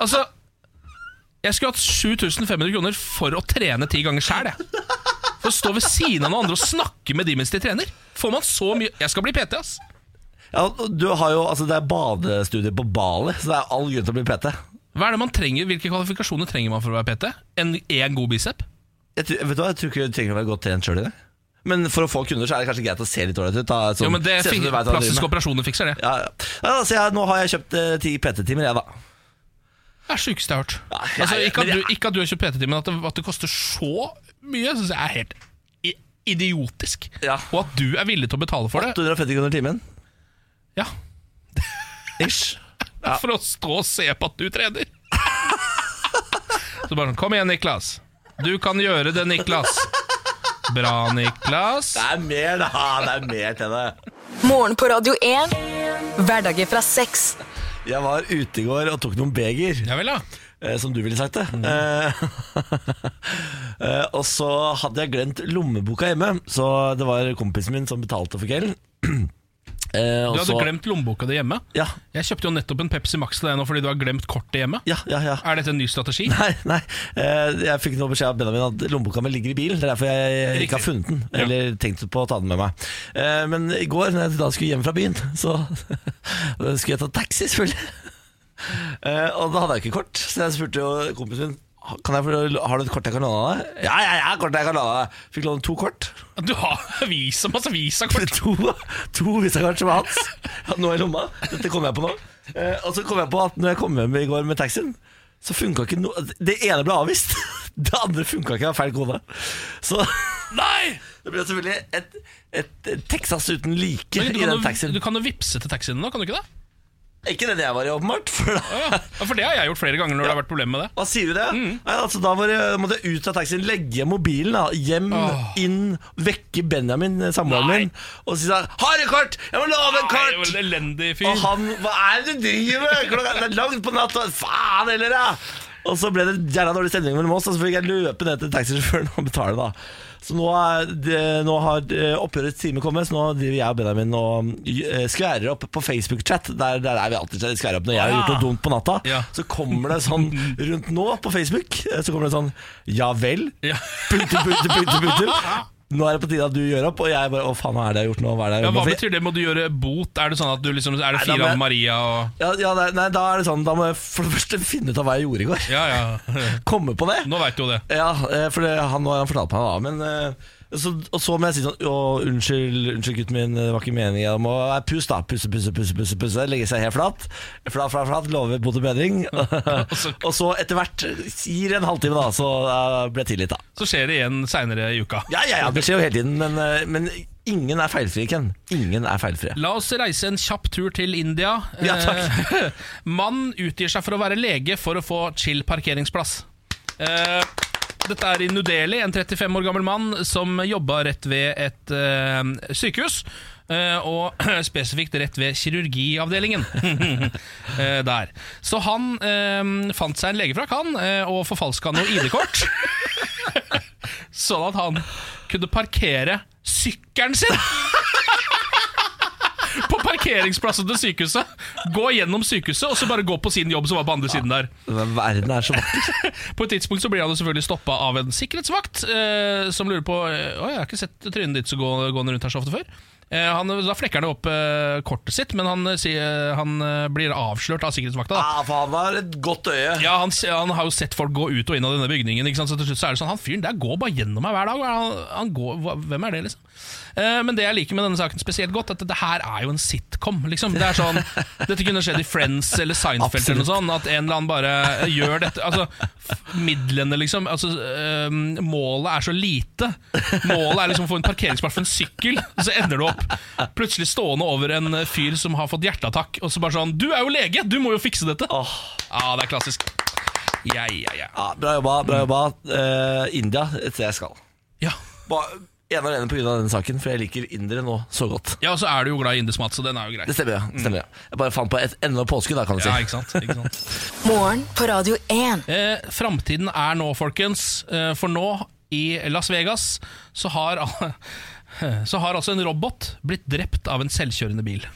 B: Altså Jeg skulle hatt 7500 kroner for å trene ti ganger sjæl, jeg. For å stå ved siden av noen andre og snakke med de mens de trener. Får man så mye Jeg skal bli PT, ass.
A: Ja, og du har jo, altså, det er badestudier på Bali, så det er all grunn til å bli PT.
B: Hva er det man trenger, Hvilke kvalifikasjoner trenger man for å være PT? En, en god bicep?
A: Jeg, tror- vet du hva, jeg tror ikke du trenger å være godt trent sjøl i det. Men for å få kunder så er det kanskje greit å se litt ålreit ut. da, sånn-
B: Jo, men det
A: se ut som
B: fik-
A: du vet hva du driver
B: Plastiske
A: med.
B: operasjoner fikser det.
A: ja, ja. ja, så jeg, Nå har jeg kjøpt eh, ti PT-timer, jeg, da.
B: Det er sjukeste jeg har hørt.
A: ja,
B: Altså,
A: ja,
B: ikke, at
A: men det-
B: du, ikke at du har kjøpt PT-tid, men at det, at det koster så mye, syns jeg er helt i- idiotisk.
A: Ja.
B: Og at du er villig til å betale for det.
A: 250 kroner timen.
B: Ja,
A: Ish.
B: For å stå og se på at du trener. så bare sånn Kom igjen, Niklas. Du kan gjøre det, Niklas. Bra, Niklas.
A: Det er mer, da! Det er mer til det.
D: Morgen på Radio 1. Hverdager fra seks.
A: Jeg var ute i går og tok noen beger,
B: Ja vel, da.
A: eh, som du ville sagt det.
B: Mhm.
A: Eh, eh, og så hadde jeg glemt lommeboka hjemme, så det var kompisen min som betalte for kvelden. Eh, og
B: Du hadde
A: så-
B: glemt lommeboka di hjemme.
A: Ja,
B: Jeg kjøpte jo nettopp en Pepsi Max til deg nå fordi du har glemt kortet hjemme.
A: ja, ja. ja.
B: Er dette en ny strategi?
A: Nei, nei. Eh, jeg fikk nå beskjed av Benjamin at lommeboka mi ligger i bilen. Det er derfor jeg eh, ikke har funnet den,
B: Ja.
A: eller tenkt på å ta den med meg. Eh, men i går, når jeg da skulle hjem fra byen, så skulle jeg ta taxi, selvfølgelig. Eh, og da hadde jeg ikke kort, så jeg spurte jo kompisen min kan jeg, få- Har du et kort jeg kan låne av deg? Ja, ja, ja, kortet jeg kan låne av deg. Fikk låne to kort.
B: Du har visa masse visakort.
A: To, to visakort som var hans. Jeg hadde noe i lomma. Dette kom jeg på nå. Eh, og så kom jeg på at når jeg kom hjem i går med taxien, så funka ikke noe Det ene ble avvist. Det andre funka ikke av feil kode. Så
B: Nei!
A: det ble selvfølgelig et, et, et Texas uten like i
B: Men du, kan
A: den
B: jo,
A: taxien.
B: du kan jo vippse til taxien nå, kan du ikke det?
A: Ikke den jeg var i, åpenbart. For da
B: Ja, Mm. ja, for det har jeg gjort flere ganger når det har vært problemer med det.
A: Hva sier du det? Nei, altså, da var det, måtte jeg ut av taxien, legge mobilen, da. hjem,
B: Åh.
A: inn, vekke Benjamin, eh, samboeren
B: Nei.
A: min, og si sånn 'Har du kort? Jeg må love en
B: Nei,
A: kort!'
B: det var en elendig fyr.
A: Og han Hva er det du driver med? Klokka det er langt på natta. Faen heller, ja! Og så ble det gjerne dårlig stemning mellom oss, og så fikk jeg løpe ned til taxisjåføren og betale, da. Så nå, er det, nå har eh, oppgjørets time kommet, så nå driver jeg og Benjamin og eh, skværer opp på Facebook-chat. Der, der er vi alltid skværer opp når jeg har gjort noe dumt på natta.
B: Ah. Ja.
A: Så kommer det sånn rundt nå på Facebook, eh, så kommer det sånn Ja vel?
B: Ja.
A: Punktum, punktum, punktum, punktum. Nå er det på tide at du gjør opp, og jeg bare Å, faen, hva er det jeg har gjort nå? Hva er det jeg har
B: Ja, hva
A: gjort nå? For-
B: betyr det? Må du gjøre bot? Er det sånn at du liksom Er det
A: Nei, da må
B: fire av
A: jeg-
B: Maria og
A: Ja, ja nei, nei, da er det sånn Da må jeg for det første finne ut av hva jeg gjorde i går.
B: Ja, ja.
A: Komme på det.
B: Nå veit du jo det.
A: Ja, eh, for det, han, nå har han fortalt meg det, da. Men, eh, så, og så må jeg si sånn Å, unnskyld, unnskyld gutten min, det var ikke meningen. Jeg må eh, puss, da. Pusse, pusse, pusse. pusse, pusse Legge seg helt flat. Flat, flat, flat. Love bot og bedring. og så etter hvert gir det en halvtime, da, så eh, ble jeg tilgitt, da.
B: Så skjer det igjen seinere i uka.
A: Ja, ja, ja, det skjer jo hele tiden, men, eh, men ingen er feilfrie, Ken. Ingen er feilfrie.
B: La oss reise en kjapp tur til India.
A: Ja, takk.
B: Eh, Mann utgir seg for å være lege for å få chill parkeringsplass. Eh, dette er i New Delhi, en 35 år gammel mann som jobba rett ved et eh, sykehus. eh, og spesifikt rett ved kirurgiavdelingen. Eh, der. Så han eh, fant seg en legefrakk, han, eh, og forfalska noe ID-kort. sånn at han kunne parkere sykkelen sin på parkeringsplassen til sykehuset. Gå gjennom sykehuset, og så bare gå på sin jobb som var på andre siden der.
A: Men Verden er så vakker.
B: På et tidspunkt så blir han jo selvfølgelig stoppa av en sikkerhetsvakt, eh, som lurer på eh, Å, jeg har ikke sett trynet ditt så gå, gående rundt her så ofte før. Eh, han, da flekker han jo opp eh, kortet sitt, men han, eh, sier- han eh, blir avslørt av sikkerhetsvakta. da.
A: Ja, for han har et godt øye.
B: Ja, han, han har jo sett folk gå ut og inn av denne bygningen. Ikke sant? Så til slutt så er det sånn Han fyren der går bare gjennom meg hver dag. Han, han går, hva- hvem er det, liksom? Eh, men det jeg liker med denne saken spesielt godt, at det her er jo en sitcom. Liksom. Det er sånn, dette kunne skjedd i Friends eller Seinfeld eller noe sånt. At en eller annen bare gjør dette. Altså, f- midlene, liksom. Altså, eh, målet er så lite. Målet er liksom å få en parkeringsplass for en sykkel, og så ender du opp plutselig stående over en fyr som har fått hjerteattakk, og så bare sånn Du er jo lege! Du må jo fikse dette!
A: Åh.
B: Ja, det er klassisk. Ja, ja, ja.
A: Ja, bra jobba, bra jobba. Eh, India, et sted jeg skal.
B: ja.
A: Ba- ene og alene pga. denne saken, for jeg liker indere nå så godt.
B: Ja, og så er du jo glad i indesmat, så den er jo grei.
A: Det stemmer, ja. Det stemmer, ja. Jeg bare fant på et enda påske, da, kan du si.
B: Ja, ikke sant? Ikke sant?
D: Morgen på Radio 1.
B: Eh, framtiden er nå, folkens. Eh, for nå, i Las Vegas, så har, så har altså en robot blitt drept av en selvkjørende bil.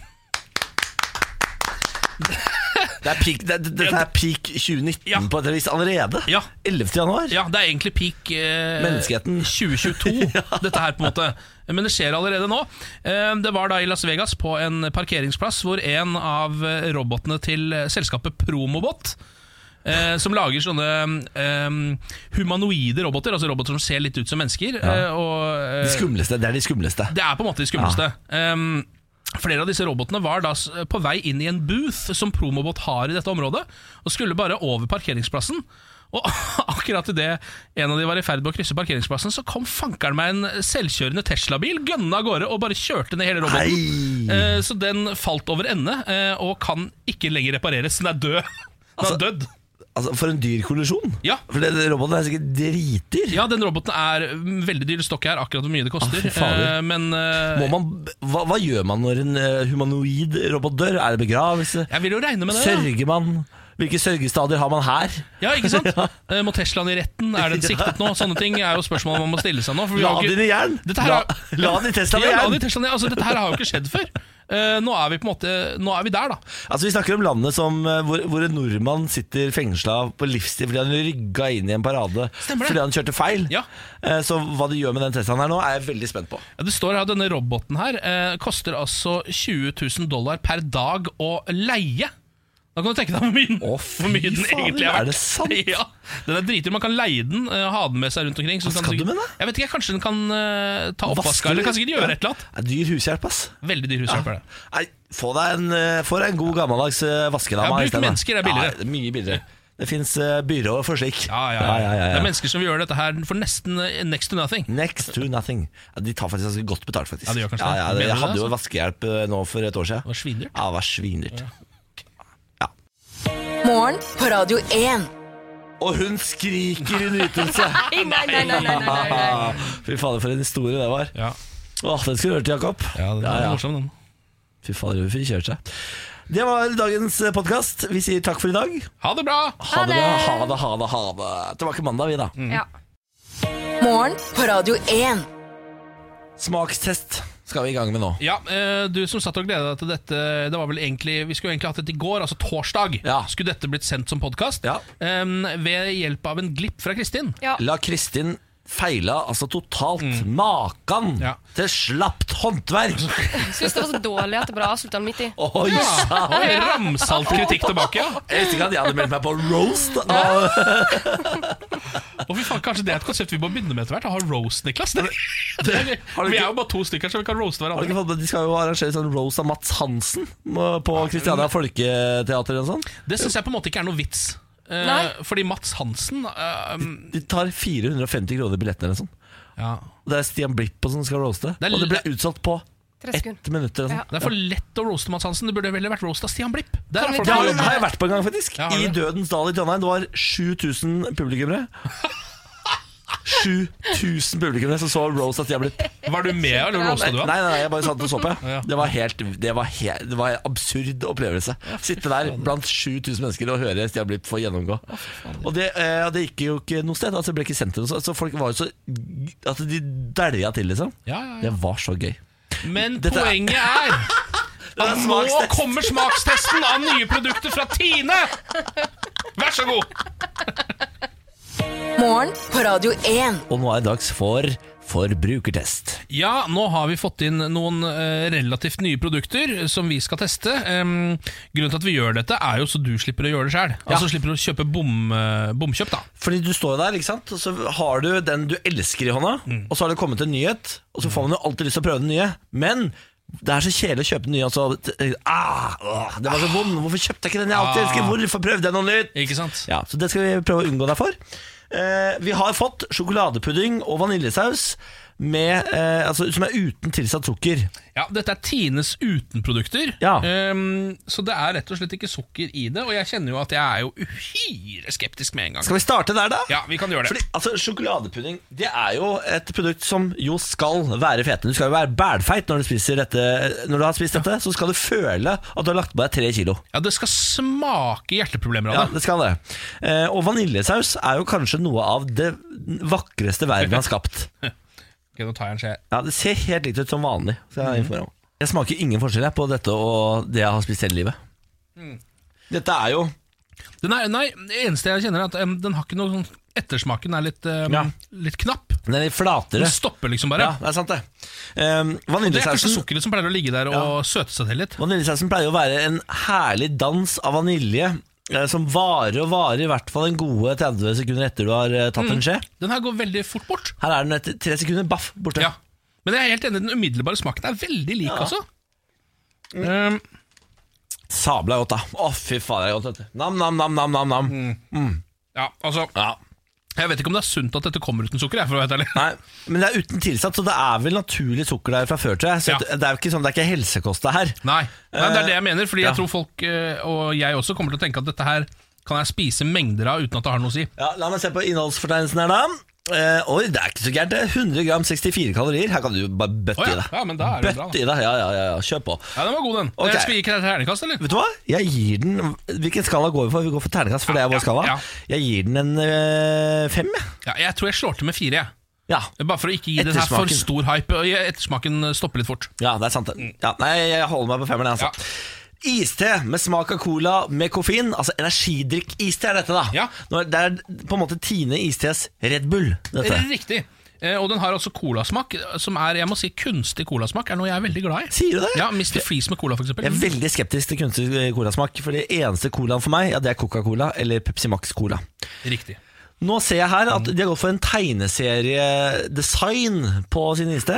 A: Det er peak, det, det, dette er peak 2019
B: Ja.
A: på et vis allerede.
B: Ja.
A: 11. januar.
B: Ja, det er egentlig peak eh,
A: Menneskeheten.
B: 2022, dette her på en måte. Men det skjer allerede nå. Eh, Det var da i Las Vegas, på en parkeringsplass, hvor en av eh, robotene til eh, selskapet Promobot eh, som lager sånne eh, humanoide roboter, altså roboter som ser litt ut som mennesker. eh, og, eh,
A: De skumleste. Det er de skumleste.
B: Det er på en måte de skumleste. Ehm, flere av disse robotene var da s- på vei inn i en booth som Promobot har i dette området, og skulle bare over parkeringsplassen. Og akkurat idet en av de var i ferd med å krysse parkeringsplassen, så kom fankeren meg en selvkjørende Tesla-bil, gønna av gårde og bare kjørte ned hele roboten.
A: Nei.
B: Eh, så den falt over ende eh, og kan ikke lenger repareres. Den er død. Den
A: Altså-
B: er dødd.
A: Altså, for en dyr kollisjon.
B: Ja.
A: For det, det- roboten er sikkert dritdyr.
B: Ja, den roboten er mm, veldig dyr. Det står ikke her akkurat hvor mye det koster.
A: fy fader.
B: eh, men eh,
A: Må man, hva, hva gjør man når en eh, humanoid robot dør? Er det begravelse?
B: jeg vil jo regne med det. da.
A: Sørger man? Hvilke sørgestadier har man her?
B: Ja, ikke sant? Eh, Må Teslaen i retten? Er den siktet nå? Sånne ting er jo spørsmål man må stille seg nå. for vi
A: La
B: har jo ikke-
A: den i jern!
B: Dette her
A: La,
B: er-
A: la den i Tesla i
B: Ja, la den
A: jern!
B: i Teslaen i- Altså, dette her har jo ikke skjedd før. Eh, nå er vi på en måte Nå er vi der, da.
A: Altså, vi snakker om landet som, eh, hvor, hvor en nordmann sitter fengsla på livstid fordi han rygga inn i en parade
B: Stemmer det.
A: fordi han kjørte feil.
B: Ja.
A: Eh, Så hva de gjør med den Teslaen her nå, er jeg veldig spent på.
B: Ja, Det står her at denne roboten her eh, koster altså 20 000 dollar per dag å leie. Da kan du tenke deg hvor mye,
A: Å, fy
B: hvor mye den
A: faen,
B: egentlig er
A: er det
B: verdt.
A: sant?
B: Ja, den er dritdyr. Man kan leie den, eh, ha den med seg rundt omkring. så
A: Hva
B: kan
A: skal du
B: sikkert-
A: med det?
B: Jeg vet ikke, Kanskje den kan eh, ta oppvaska, eller kan sikkert gjøre et eller annet.
A: Ja, Dyr hushjelp, ass.
B: Veldig dyr hushjelp. er det.
A: Nei, få deg en, eh, få deg en god gammeldags eh, vaskedame.
B: Ja, bruk
A: i stedet.
B: mennesker, det er billigere.
A: Ja, det er mye billigere. Det fins byråer for slik.
B: Ja ja, ja, Det er mennesker som vil gjøre dette her for nesten eh, next to nothing.
A: Next to nothing. Ja, de tar faktisk ganske godt betalt, faktisk.
B: Ja, de gjør kanskje
A: ja,
B: det.
A: ja,
B: Mener
A: Jeg
B: du
A: hadde
B: det,
A: jo
B: altså?
A: vaskehjelp eh, nå for et år siden.
B: Det var svindyrt.
A: Ja, det var svindyrt.
D: Morgen på Radio 1.
A: Og hun skriker i nytelse!
C: Nei, nei, nei, nei, nei, nei, nei.
A: Fy fader, for en historie det var.
B: Ja,
A: Åh, den skulle du hørt, Jakob.
B: ja den er morsom, den.
A: Fy fader, hun fikk kjørt seg. Det var dagens podkast. Vi sier takk for i dag.
B: Ha det bra!
A: Ha det bra. Ha det, ha det, ha det. Tilbake mandag, vi, da.
B: Mm.
C: Ja.
D: Morgen på Radio 1.
A: Smakstest skal vi i gang med nå.
B: Ja, eh, Du som satt og gleda deg til dette Det var vel egentlig, Vi skulle jo egentlig hatt dette i går, altså torsdag.
A: Ja.
B: Skulle dette blitt sendt som podkast?
A: Ja.
B: ved hjelp av en glipp fra Kristin.
C: Ja.
A: La Kristin feila altså totalt. Makan
B: Mm. Ja.
A: til slapt håndverk!
C: Syns det var så dårlig at det ble avslutta midt i.
A: Oi sann!
B: Og ramsalt kritikk tilbake, ja.
A: Jeg visste ikke at jeg hadde meldt meg på roast. Ah, av-
B: Og fy faen, Kanskje det er et konsept vi må begynne med etter hvert? Å ha roast, Niklas. Det, det,
A: du
B: vi
A: ikke-
B: er jo bare to stykker, så vi kan roaste
A: Har du
B: hverandre.
A: ikke fått med- De skal jo arrangere sånn roast av Mats Hansen må- på Christiania Folketeater. og sånn.
B: Det syns jeg på en måte ikke er noe vits. Eh,
C: Nei.
B: fordi Mats Hansen eh,
A: De tar 450 kroner i billetten. eller sånn.
B: ja,
A: Og Det er Stian Blipp og sånn som skal roaste.
B: Det er
A: Og det
B: l-
A: ble utsolgt på
C: Tre sekunder.
A: ett minutt. eller
C: Ja.
A: sånn.
B: Det er for lett å roaste Mads Hansen. Det burde heller vært roast av Stian Blipp. Der
C: Kan
B: er
C: vi
B: folk
A: Det
C: ta
A: har,
B: som
C: den
B: jobber.
A: har jeg vært på en gang, faktisk.
B: Ja, har du
A: I
B: det?
A: Dødens dal i Trondheim. Det var 7000 publikummere. 7000 publikummere som så Rose at jeg ble
B: Var du med, eller roasta
A: Nei,
B: du
A: nei,
B: han?
A: nei, jeg bare satt og så på. jeg.
B: Ja.
A: Det var, helt, det, var helt, det var en absurd opplevelse. Sitte der blant 7000 mennesker og høre Stian Blipp få gjennomgå. Og det, eh, det gikk jo ikke noe sted. Altså, det ble ikke sendt til noe sted. Så folk var jo så altså, De dælja til, liksom.
B: Ja, ja, ja.
A: Det var så gøy.
B: Men
A: Dette er-
B: poenget er
A: er
B: at nå
A: smakstest.
B: kommer smakstesten av nye produkter fra Tine! Vær så god!
D: Morgen på Radio 1.
A: Og nå er det dags for forbrukertest.
B: Ja, nå har vi fått inn noen eh, relativt nye produkter som vi skal teste. Em, grunnen til at vi gjør dette, er jo så du slipper å gjøre det sjøl. Altså slipper du å kjøpe bom, eh, bomkjøp, da.
A: Fordi du står der, ikke sant? og så har du den du elsker i hånda, og så har det kommet en nyhet, og så får man jo alltid lyst til å prøve den nye. Men det er så kjedelig å kjøpe den nye, og så eh, ah, åh, Det var så vond, hvorfor kjøpte jeg ikke den jeg alltid elsker? Hvorfor prøvde jeg noe nytt?
B: Ikke sant?
A: Ja, Så det skal vi prøve å unngå deg for. Eh, vi har fått sjokoladepudding og vaniljesaus. med, eh, altså, som er uten tilsatt sukker.
B: Ja, Dette er Tines utenprodukter,
A: Ja.
B: Ehm, så det er rett og slett ikke sukker i det. Og jeg kjenner jo at jeg er jo uhyre skeptisk med en gang.
A: Skal vi starte der, da?
B: Ja, vi kan gjøre det.
A: Fordi, altså, Sjokoladepudding det er jo et produkt som jo skal være fete. Du skal jo være bælfeit når du, spiser dette, når du har spist dette. Så skal du føle at du har lagt på deg tre kilo.
B: Ja, Det skal smake hjerteproblemer
A: Ja,
B: av det.
A: det skal det. Eh, og vaniljesaus er jo kanskje noe av det vakreste verden har skapt.
B: Ok, nå tar jeg en skje.
A: Ja, Det ser helt likt ut som vanlig. Skal
B: Mhm.
A: jeg, informere om. jeg smaker ingen forskjell jeg, på dette og det jeg har spist hele livet.
B: Mm.
A: Dette er jo
B: Den er, nei, det eneste jeg kjenner, er at em, den har ikke noe sånn Ettersmaken er litt, em,
A: Ja.
B: litt knapp.
A: Den er litt flatere.
B: Den stopper liksom bare.
A: Ja, det er sant, det. Um,
B: Det er kanskje
A: vaniljesausen
B: sukkeret som pleier å ligge der og søte seg til litt.
A: Vaniljesausen pleier å være en herlig dans av vanilje eh, som varer og varer i hvert fall en gode 30 sekunder etter du har eh, tatt en skje.
B: Den her går veldig fort bort.
A: Her er den etter tre sekunder, baff, borte.
B: Ja. Men jeg er helt enig, den umiddelbare smaken er veldig lik, Ehm, altså.
A: Mm.
B: Em,
A: Sabla godt, da. Å, fy faen, det er godt. vet du. Nam, nam, nam, nam, nam. nam.
B: Mm. ja, altså
A: Ja.
B: Jeg vet ikke om det er sunt at dette kommer uten sukker, jeg, for å være helt ærlig.
A: Nei, men det er uten tilsatt, så det er vel naturlig sukker der fra før, tror jeg. Så
B: Ja.
A: det er jo ikke sånn, det er ikke helsekost det her.
B: Nei, Nei, det er det jeg mener, fordi
A: Eh, ja.
B: jeg tror folk, eh, og jeg også, kommer til å tenke at dette her kan jeg spise mengder av uten at det har noe å si.
A: Ja, la meg se på innholdsfortegnelsen her, da. Eh, oi, det er ikke så gærent. det. 100 gram 64 kalorier. Her kan du jo bare bøtte
B: Å ja.
A: i deg.
B: Ja, men da er det bra, da.
A: Bøtte i deg, ja, ja, ja, ja. Kjør på.
B: Ja, Den var god, den.
A: Ok.
B: Jeg skal vi gi deg et terningkast, eller?
A: Vet du hva? Jeg gir den Hvilken skala går vi for? Vi går for terningkast, for det er
B: Ja,
A: vår skala.
B: ja.
A: Jeg gir den en øh, fem, jeg.
B: Ja, jeg tror jeg slår til med fire, jeg.
A: Ja.
B: Bare for å ikke gi det her for
A: Ettersmaken.
B: stor hype. og Ettersmaken stopper litt fort.
A: ja, det er sant. det. Ja, nei, jeg holder meg på femmeren, jeg, altså. Iste med smak av cola med koffein. Altså energidrikk-iste er dette, da.
B: Ja.
A: Nå er- Det er på en måte Tine Istes Red Bull. Dette.
B: Riktig. Eh, Og den har altså colasmak, som er jeg må si, kunstig colasmak. er noe jeg er veldig glad i.
A: Sier du det?
B: Ja, Mr. Freeze med cola, for eksempel.
A: Jeg er veldig skeptisk til kunstig colasmak, for det eneste colaen for meg, ja, det er Coca-Cola eller Pepsi Max-cola.
B: Riktig.
A: Nå ser jeg her at de har gått for en tegneseriedesign på sin iste.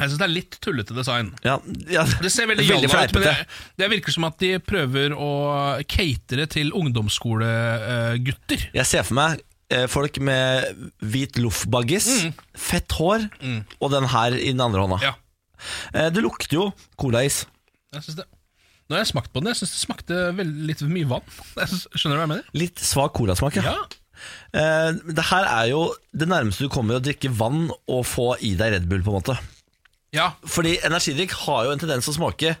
B: Jeg syns det er litt tullete design.
A: Ja, ja.
B: Det ser veldig
A: Veldig
B: jalla ut, men det,
A: fleipete.
B: det virker som at de prøver å catere til ungdomsskolegutter.
A: Jeg ser for meg eh, folk med hvit loffbaggis, fett hår og den her i den andre hånda.
B: Mm. Ja,
A: Eh, det lukter jo colais.
B: jeg synes det. Nå har jeg smakt på den. Jeg syns det smakte veldig, litt mye vann. Jeg synes, skjønner du hva jeg mener?
A: Litt svak colasmak, ja.
B: Ja,
A: Eh, det her er jo det nærmeste du kommer å drikke vann og få i deg Red Bull, på en måte.
B: ja,
A: Fordi energidrikk har jo en tendens til å smake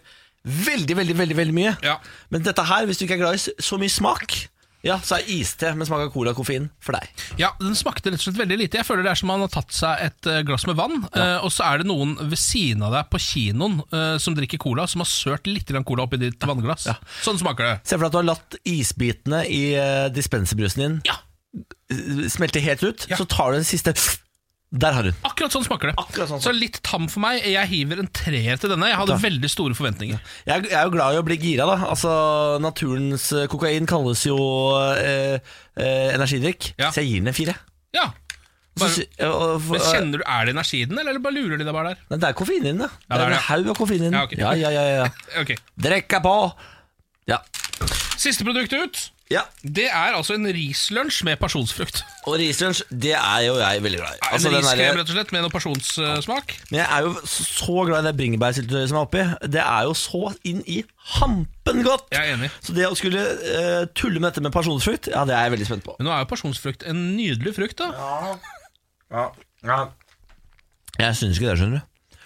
A: veldig, veldig, veldig veldig mye.
B: Ja.
A: Men dette her, hvis du ikke er glad i s- så mye smak, ja, så er iste med smak av cola og koffein for deg.
B: ja Den smakte rett og slett veldig lite. Jeg føler det er som om man har tatt seg et eh, glass med vann, eh, og så er det noen ved siden av deg på kinoen eh, som drikker cola, som har sølt litt grann cola oppi ditt vannglass. Sånn smaker det.
A: Se for deg at du har latt isbitene i eh, dispenserbrusen din
B: Ja,
A: smelter helt ut,
B: Ja.
A: så tar du den siste Der har du den.
B: Akkurat sånn smaker det.
A: Akkurat sånn.
B: Så litt tam for meg. Jeg hiver en treer til denne. Jeg hadde veldig store forventninger.
A: Jeg, jeg er jo glad i å bli gira, da. Altså, Naturens eh, kokain kalles jo eh, eh, energidrikk,
B: Ja.
A: så jeg gir den en fire.
B: Ja
A: Så
B: bare,
A: sy- og- og-
B: Men kjenner du, Er det energi i den, eller bare lurer de deg bare der?
A: Nei, det er koffein i den, da.
B: Ja,
A: det
B: det
A: er
B: er det,
A: en
B: ja.
A: haug av koffein i den.
B: Ja, ok.
A: ja, ja, ja, ja.
B: Ok
A: Drekka på! Ja.
B: Siste produkt ut.
A: ja.
B: Det er altså en rislunsj med pasjonsfrukt.
A: Og rislunsj, det er jo jeg veldig glad i. Altså,
B: en
A: den
B: riskrem
A: derre-
B: rett og slett med noe pasjonssmak.
A: men jeg er jo så glad i det bringebærsyltetøyet som er oppi. Det er jo så inn i hampen godt!
B: Jeg er enig.
A: Så det å skulle eh, tulle med dette med pasjonsfrukt, ja, det er jeg veldig spent på.
B: Men nå er jo pasjonsfrukt en nydelig frukt, da.
A: Jeg syns ikke det, skjønner du.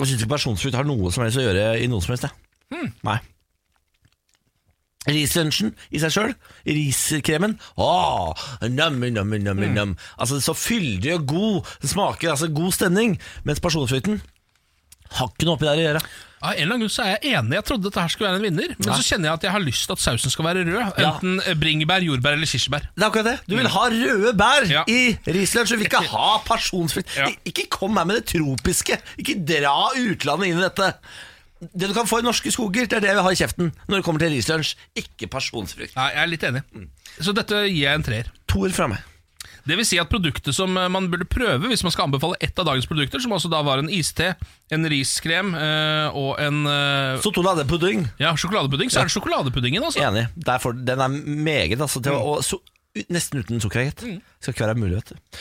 A: Jeg syns ikke personsfrukt har noe som helst å gjøre i noe som helst. Jeg. Nei. Rislunsjen i seg sjøl, riskremen Åh, nam, nam, nam, nam. Altså Så fyldig og god. Det smaker altså god stemning. Mens personsfrukten har ikke noe oppi der å gjøre.
B: Av en eller annen grunn så er jeg enig. Jeg trodde dette her skulle være en vinner. Men så kjenner jeg at jeg har lyst til at sausen skal være rød.
A: Ja.
B: Enten bringebær, jordbær eller kirsebær.
A: Det er akkurat det. Du vil ha røde bær
B: Mm. Ja.
A: i rislunsj. Du vil ikke ha personsfrukt.
B: Ja.
A: Ik- Ikke kom her med det tropiske. Ikke dra utlandet inn i dette. Det du kan få i norske skoger, det er det vi har i kjeften når det kommer til rislunsj. Ikke personsfrukt.
B: Nei, jeg er litt enig. Så dette gir jeg en treer.
A: Toer fra meg.
B: Det vil si at produktet som eh, man burde prøve hvis man skal anbefale ett av dagens produkter, som altså da var en iste, en riskrem eh, og en eh,
A: Sotoladepudding.
B: ja, sjokoladepudding, så er det sjokoladepuddingen, altså.
A: Enig.
B: Mm.
A: Der får- den er meget, altså. Til å, og, so, u- nesten uten sukkerhet. Skal ikke være mulig, vet du.